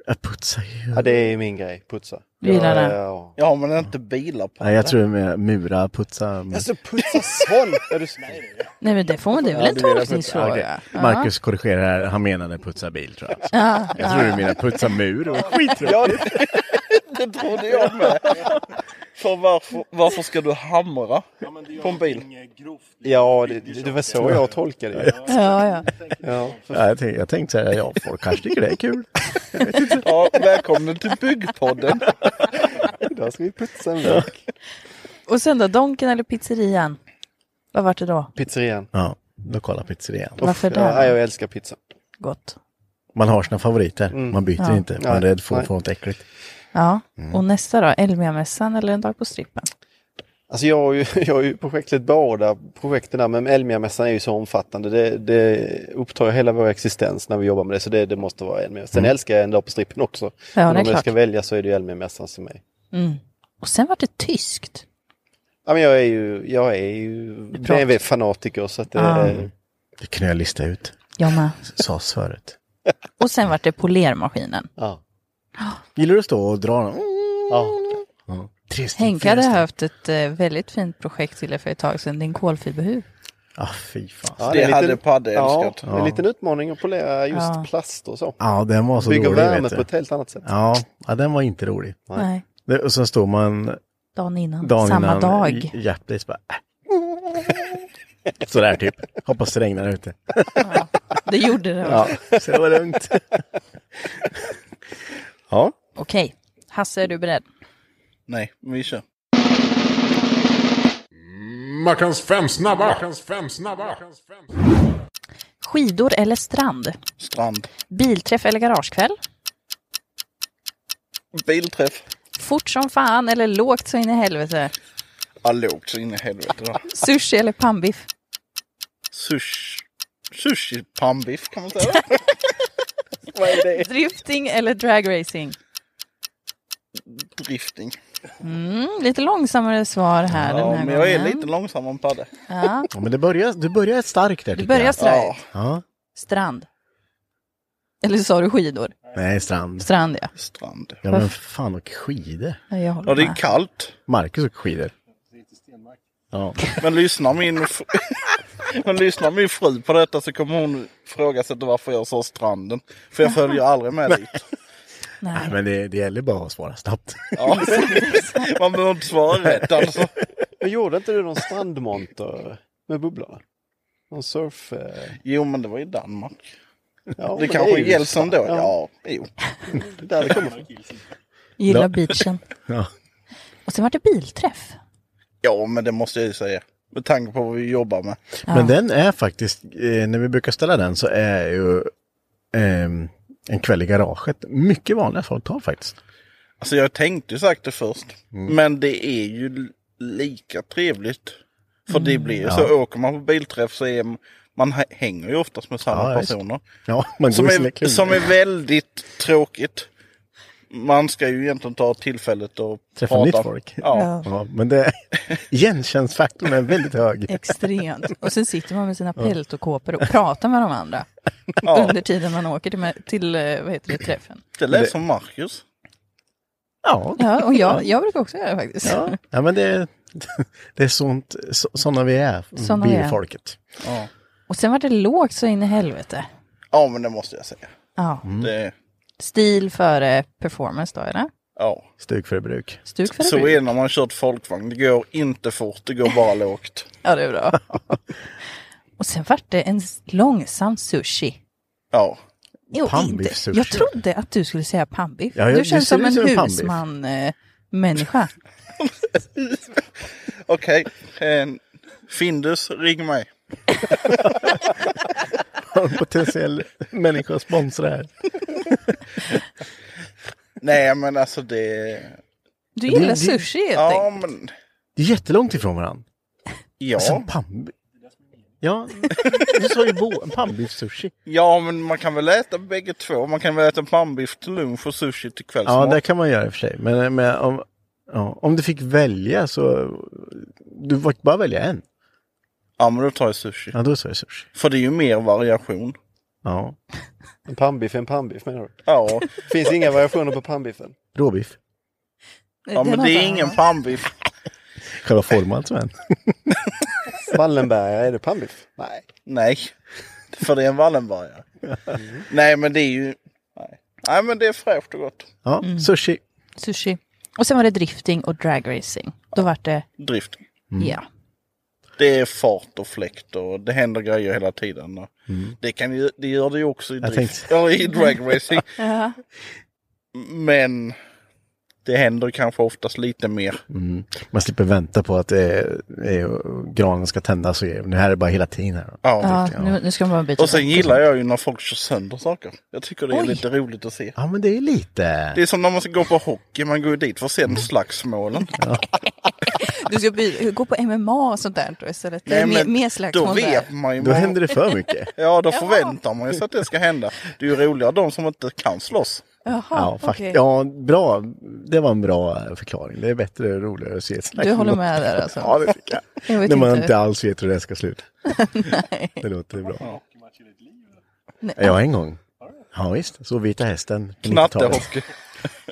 S1: Jag putsar ju.
S4: ja, det är min grej. Putsa.
S8: Du gillar det?
S4: Ja,
S5: ja men det är inte bilar på
S1: Nej, jag tror med mura, putsa. men-
S4: Alltså putsa sån!
S5: <laughs>
S4: Är du snäll?
S8: Nej men det får man, det är väl en
S4: Ja, du menar putsa.
S8: tolkningsfråga?
S1: Okej.
S8: Ja.
S1: Marcus korrigerar här, han menade putsa bil tror jag.
S8: Ja,
S1: Jag tror du
S8: ja.
S1: menar putsa mur. Och
S5: Ja, det, det trodde jag med. För varför, varför ska du hamra på en bil?
S4: Ja, det, det var så jag tolkade det.
S8: Ja, ja.
S4: Ja.
S1: Ja, jag, tänkte, jag tänkte så här, ja, folk kanske tycker det är kul.
S5: Ja, välkommen till Byggpodden.
S4: Idag ska vi putsa en väg.
S8: Och sen då, donken eller pizzerian? Vad vart det då?
S4: Pizzerian.
S1: Ja, lokala pizzerian.
S8: Varför det?
S4: Ja, jag älskar pizza. Mm.
S8: Gott.
S1: Man har sina favoriter, man byter
S8: Ja.
S1: inte. Man är
S4: Nej,
S1: rädd för att
S4: nej.
S1: få något äckligt.
S8: Ja, och nästa då, Elmia-mässan eller en dag på strippen?
S4: Alltså jag har ju, <laughs> jag har ju projektet båda projekten där, men Elmia-mässan är ju så omfattande. Det, det upptar ju hela vår existens när vi jobbar med det, så det, det måste vara Elmia. Sen älskar jag en dag på strippen också.
S8: det är
S4: men om jag
S8: klart.
S4: ska välja så är det ju Elmia-mässan som är...
S8: Mm. Och sen vart det tyskt.
S4: Ja, men jag är ju, jag är ju
S8: pratar-
S4: BMW-fanatiker så att det
S8: Ah.
S4: är...
S1: Det kunde jag lista ut.
S8: Jag med.
S1: Sades förut.
S8: Och sen vart det polermaskinen.
S4: Ja.
S1: Gillar du att stå och dra? Mm,
S4: ja.
S1: tre steg,
S8: Henke
S1: fyra
S8: hade
S1: steg.
S8: haft ett eh, väldigt fint projekt till er för ett tag sedan, din kolfiberhuv.
S1: Ah, fy fan.
S4: Ja,
S5: Det
S4: är en
S5: hade
S4: liten-
S5: Padde älskat.
S4: Ja, det är en liten utmaning att polera just plast och så.
S1: Ja, den var så
S4: Bygger
S1: dålig.
S4: värme
S1: vet du.
S4: på ett helt annat sätt.
S1: Ja, ja, den var inte rolig.
S8: Nej.
S1: Det, och sen står man
S8: Dagen innan,
S1: dagen
S8: samma
S1: innan <laughs>
S8: dag.
S1: J- Jepplis bara... Äh. Sådär typ. Hoppas det regnar ute.
S8: Det gjorde det.
S1: Ja, så det var lugnt. ja,
S8: Okej, Hasse är du beredd?
S5: Nej, men vi kör.
S9: Mackans fem snabba! Mackans fem snabba!
S8: Skidor eller strand?
S5: Strand.
S8: Bilträff eller garagekväll?
S5: Bilträff.
S8: Fort som fan eller lågt så in i helvete?
S5: Ja, lågt så in i helvete. då.
S8: Sushi eller pannbiff?
S5: Sush. Sushi pannbiff kan man säga. Vad är det?
S8: Drifting eller dragracing?
S5: Drifting.
S8: Mm, lite långsammare svar här den
S5: Ja,
S8: här
S5: men jag är
S8: gången.
S5: lite långsammare än Padde.
S8: Ja,
S1: Ja, men det börjar, du börjar starkt där
S8: du
S1: tycker
S8: börjar
S1: jag.
S8: strajt.
S1: Ja.
S8: Strand. Eller sa du skidor?
S1: Nej, strand.
S8: Strand ja.
S5: Strand.
S1: Ja, men fan, och skidor.
S8: Ja, Jag håller
S5: Ja, det är
S8: med.
S5: kallt.
S1: Marcus åker skidor. Ja.
S5: Men lyssna min... f- Men lyssnar min fru på detta så kommer hon ifrågasätta varför jag sa stranden. För jag följer aldrig med dit.
S1: Nej, men det, det gäller bara att svara snabbt. <laughs>
S5: Ja, Alltså, man behöver inte svara rätt alltså.
S4: Men gjorde inte du någon strandmonter med bubblorna? Någon surf... Eh...
S5: Jo, men det var i Danmark.
S4: Ja,
S5: det kanske är Jeltsin
S4: Jeltsin
S5: då? Ja, jo.
S4: Det där det kommer från.
S8: Gillar
S5: Ja.
S8: beachen.
S1: Ja.
S8: Och sen var det bilträff.
S5: Ja, men det måste jag ju säga. Med tanke på vad vi jobbar med.
S1: Men den är faktiskt, eh, när vi brukar ställa den så är ju ehm, en kväll i garaget mycket vanliga samtal faktiskt.
S5: Alltså jag tänkte ju sagt det först.
S1: Mm.
S5: Men det är ju l- lika trevligt. För
S8: Mm.
S5: det blir ju
S1: Ja.
S5: så. Åker man på bilträff så är m- man hä- hänger ju oftast med samma
S1: Ja, visst.
S5: personer.
S1: Ja, man
S5: som,
S1: går i sina
S5: är,
S1: klungor.
S5: som är väldigt tråkigt. Man ska ju egentligen ta tillfället och
S1: Träffa
S5: prata.
S1: nytt folk.
S5: Ja.
S1: Ja, men det, igenkänsfaktorn är väldigt hög.
S8: Extremt. Och sen sitter man med sina
S1: Ja.
S8: pält och kåpor och pratar med de andra.
S5: Ja.
S8: Under tiden man åker till, med- till eh, vad heter det, träffen.
S5: Det lät som Marcus.
S1: Ja,
S8: Ja, och jag, jag brukar också göra det faktiskt.
S1: Ja, ja men det, <laughs> det är sånt, så, sådana vi är,
S8: Såna vi är.
S1: bilfolket.
S5: Ja.
S8: Och sen var det lågt så in i helvete.
S5: ja, men det måste jag säga.
S8: Ja.
S5: Det,
S8: Stil före performance då, eller?
S5: ja.
S1: Stuk för bruk.
S8: Stuk för
S5: Så
S8: bruk.
S5: är det när man har kört folkvagn. Det går inte fort, det går bara lågt.
S8: Ja, det är bra. Och sen var det en s- långsam sushi.
S5: Ja.
S8: Jo, inte.
S5: Pannbiffsushi.
S8: Jag trodde att du skulle säga pannbiff.
S5: Ja, jag-
S8: du
S5: det
S8: känns
S5: ser
S8: som en
S5: ut
S8: eh,
S5: som en pannbiff.
S8: husman-människa.
S5: Okej, eh, Findus, ring mig.
S1: Har en potentiell människa att sponsra här.
S5: Nej, men alltså det...
S8: Du gillar sushi helt
S5: ja,
S8: enkelt.
S5: Men,
S1: Det är jättelångt ifrån varandra.
S5: Ja.
S1: Och sen pannbiff. Ja, du sa ju bo- pannbiff-sushi.
S5: ja, men man kan väl äta bägge två. Man kan väl äta pannbiff till lunch och sushi till
S1: Ja,
S5: kvällsmat.
S1: det kan man göra i och för sig. Men, men om, ja, om du fick välja så... Du fick bara välja en.
S5: Ja, men då tar jag sushi.
S1: Ja, då sa jag sushi.
S5: För det är ju mer variation.
S1: Ja.
S4: En pannbiff är en pannbiff menar du?
S5: Ja.
S4: Finns inga variationer på pannbiffen?
S1: Råbiff.
S5: Ja, men det är ingen pannbiff.
S1: Själva formen alltså, som en.
S4: Wallenberga, är det pannbiff? Nej.
S5: Nej, för det är en Wallenbergare. Nej, men det är ju... Nej. nej, men det är fräscht och gott.
S1: Ja,
S4: Mm.
S1: sushi.
S8: Sushi. Och sen var det drifting och dragracing. Då var det,
S5: Drift.
S8: ja.
S5: Det är fart och fläkt och det händer grejer hela tiden. och
S1: Mm.
S5: Det, kan ju, det gör det ju också i,
S1: Jag
S5: drift,
S1: tänkte-
S5: eller i dragracing.
S8: Ja.
S5: Men det händer kanske oftast lite mer.
S1: Mm. Man slipper vänta på att eh, eh, granen ska tändas. Och, det här är bara hela tiden. Här.
S5: Ja,
S8: Ja, nu, nu ska man bara byta.
S5: Och sen gillar jag ju när folk kör sönder saker. Jag tycker det är
S8: Oj.
S5: lite roligt att se.
S1: Ja, men det är lite...
S5: Det är som när man ska gå på hockey, man går ju dit för att se mm. slagsmålen.
S8: Du ska by- gå på MMA och sånt där då istället. Det är
S5: Nej,
S8: mer,
S5: men
S8: mer slagsmål
S5: Då vet
S8: där.
S5: man ju.
S1: Då händer det för mycket.
S5: Ja, då förväntar man sig att det ska hända. Det är ju roligare de som inte kan slåss.
S8: Jaha,
S1: Ja, fakt-
S8: okej.
S1: ja, bra. Det var en bra eh, förklaring. Det är bättre och roligare att se ett slagsmål.
S8: Du håller med där alltså?
S1: Ja, det tycker
S8: <laughs> Jag
S1: jag.
S8: vet
S1: När man
S8: inte.
S1: inte alls vet hur det här ska sluta.
S8: Nej.
S1: Det låter bra.
S8: Nej.
S1: Ja, en gång. Ja, visst. Så Vita Hästen. på 90-talet.
S5: Knattehockey.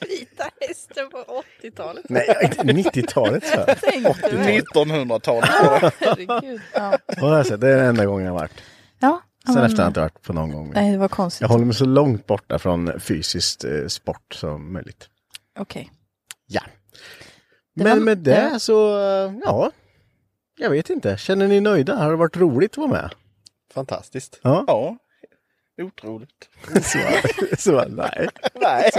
S10: Vita hästen på 80-talet.
S1: Nej, inte 90-talet. Så.
S10: Jag tänkte väl.
S5: 1900-talet.
S10: Ja, herregud. Ja.
S1: Ja, alltså, det är den enda gången jag har varit.
S8: Ja,
S1: Sen
S8: men-
S1: efter har jag inte varit på någon gång. mer.
S8: Nej, det var konstigt.
S1: Jag håller mig så långt borta från fysiskt eh, sport som möjligt.
S8: Okej.
S1: Ja.
S8: Det
S1: Men
S8: var-
S1: med det
S8: ja.
S1: så, eh, ja. Jag vet inte. Känner ni nöjda? Har det varit roligt att vara med?
S4: Fantastiskt.
S1: Ja.
S5: Ja. Otroligt.
S1: Så, så nej.
S4: Nej.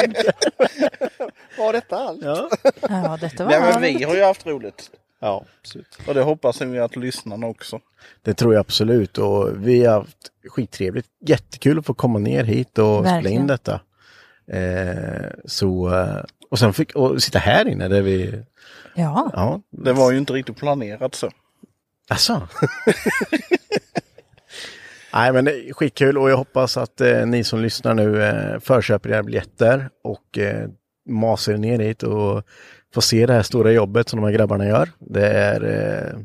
S4: Var detta allt?
S1: Ja.
S8: Ja, detta var
S5: Nej, men
S8: allt.
S5: vi har ju haft roligt.
S4: Ja, absolut.
S5: Och det hoppas vi att lyssnarna också.
S1: Det tror jag absolut. Och vi har haft skittrevligt. Jättekul att få komma ner hit och spela
S8: Verkligen.
S1: in detta. Eh, så, eh, och sen fick, och sitta här inne där vi...
S8: Ja.
S1: Ja.
S5: Det var ju inte riktigt planerat så.
S1: Alltså. <laughs> Nej men det är skitkul och jag hoppas att eh, ni som lyssnar nu eh, förköper era biljetter och eh, masar er ner hit och får se det här stora jobbet som de här grabbarna gör. Det är, eh,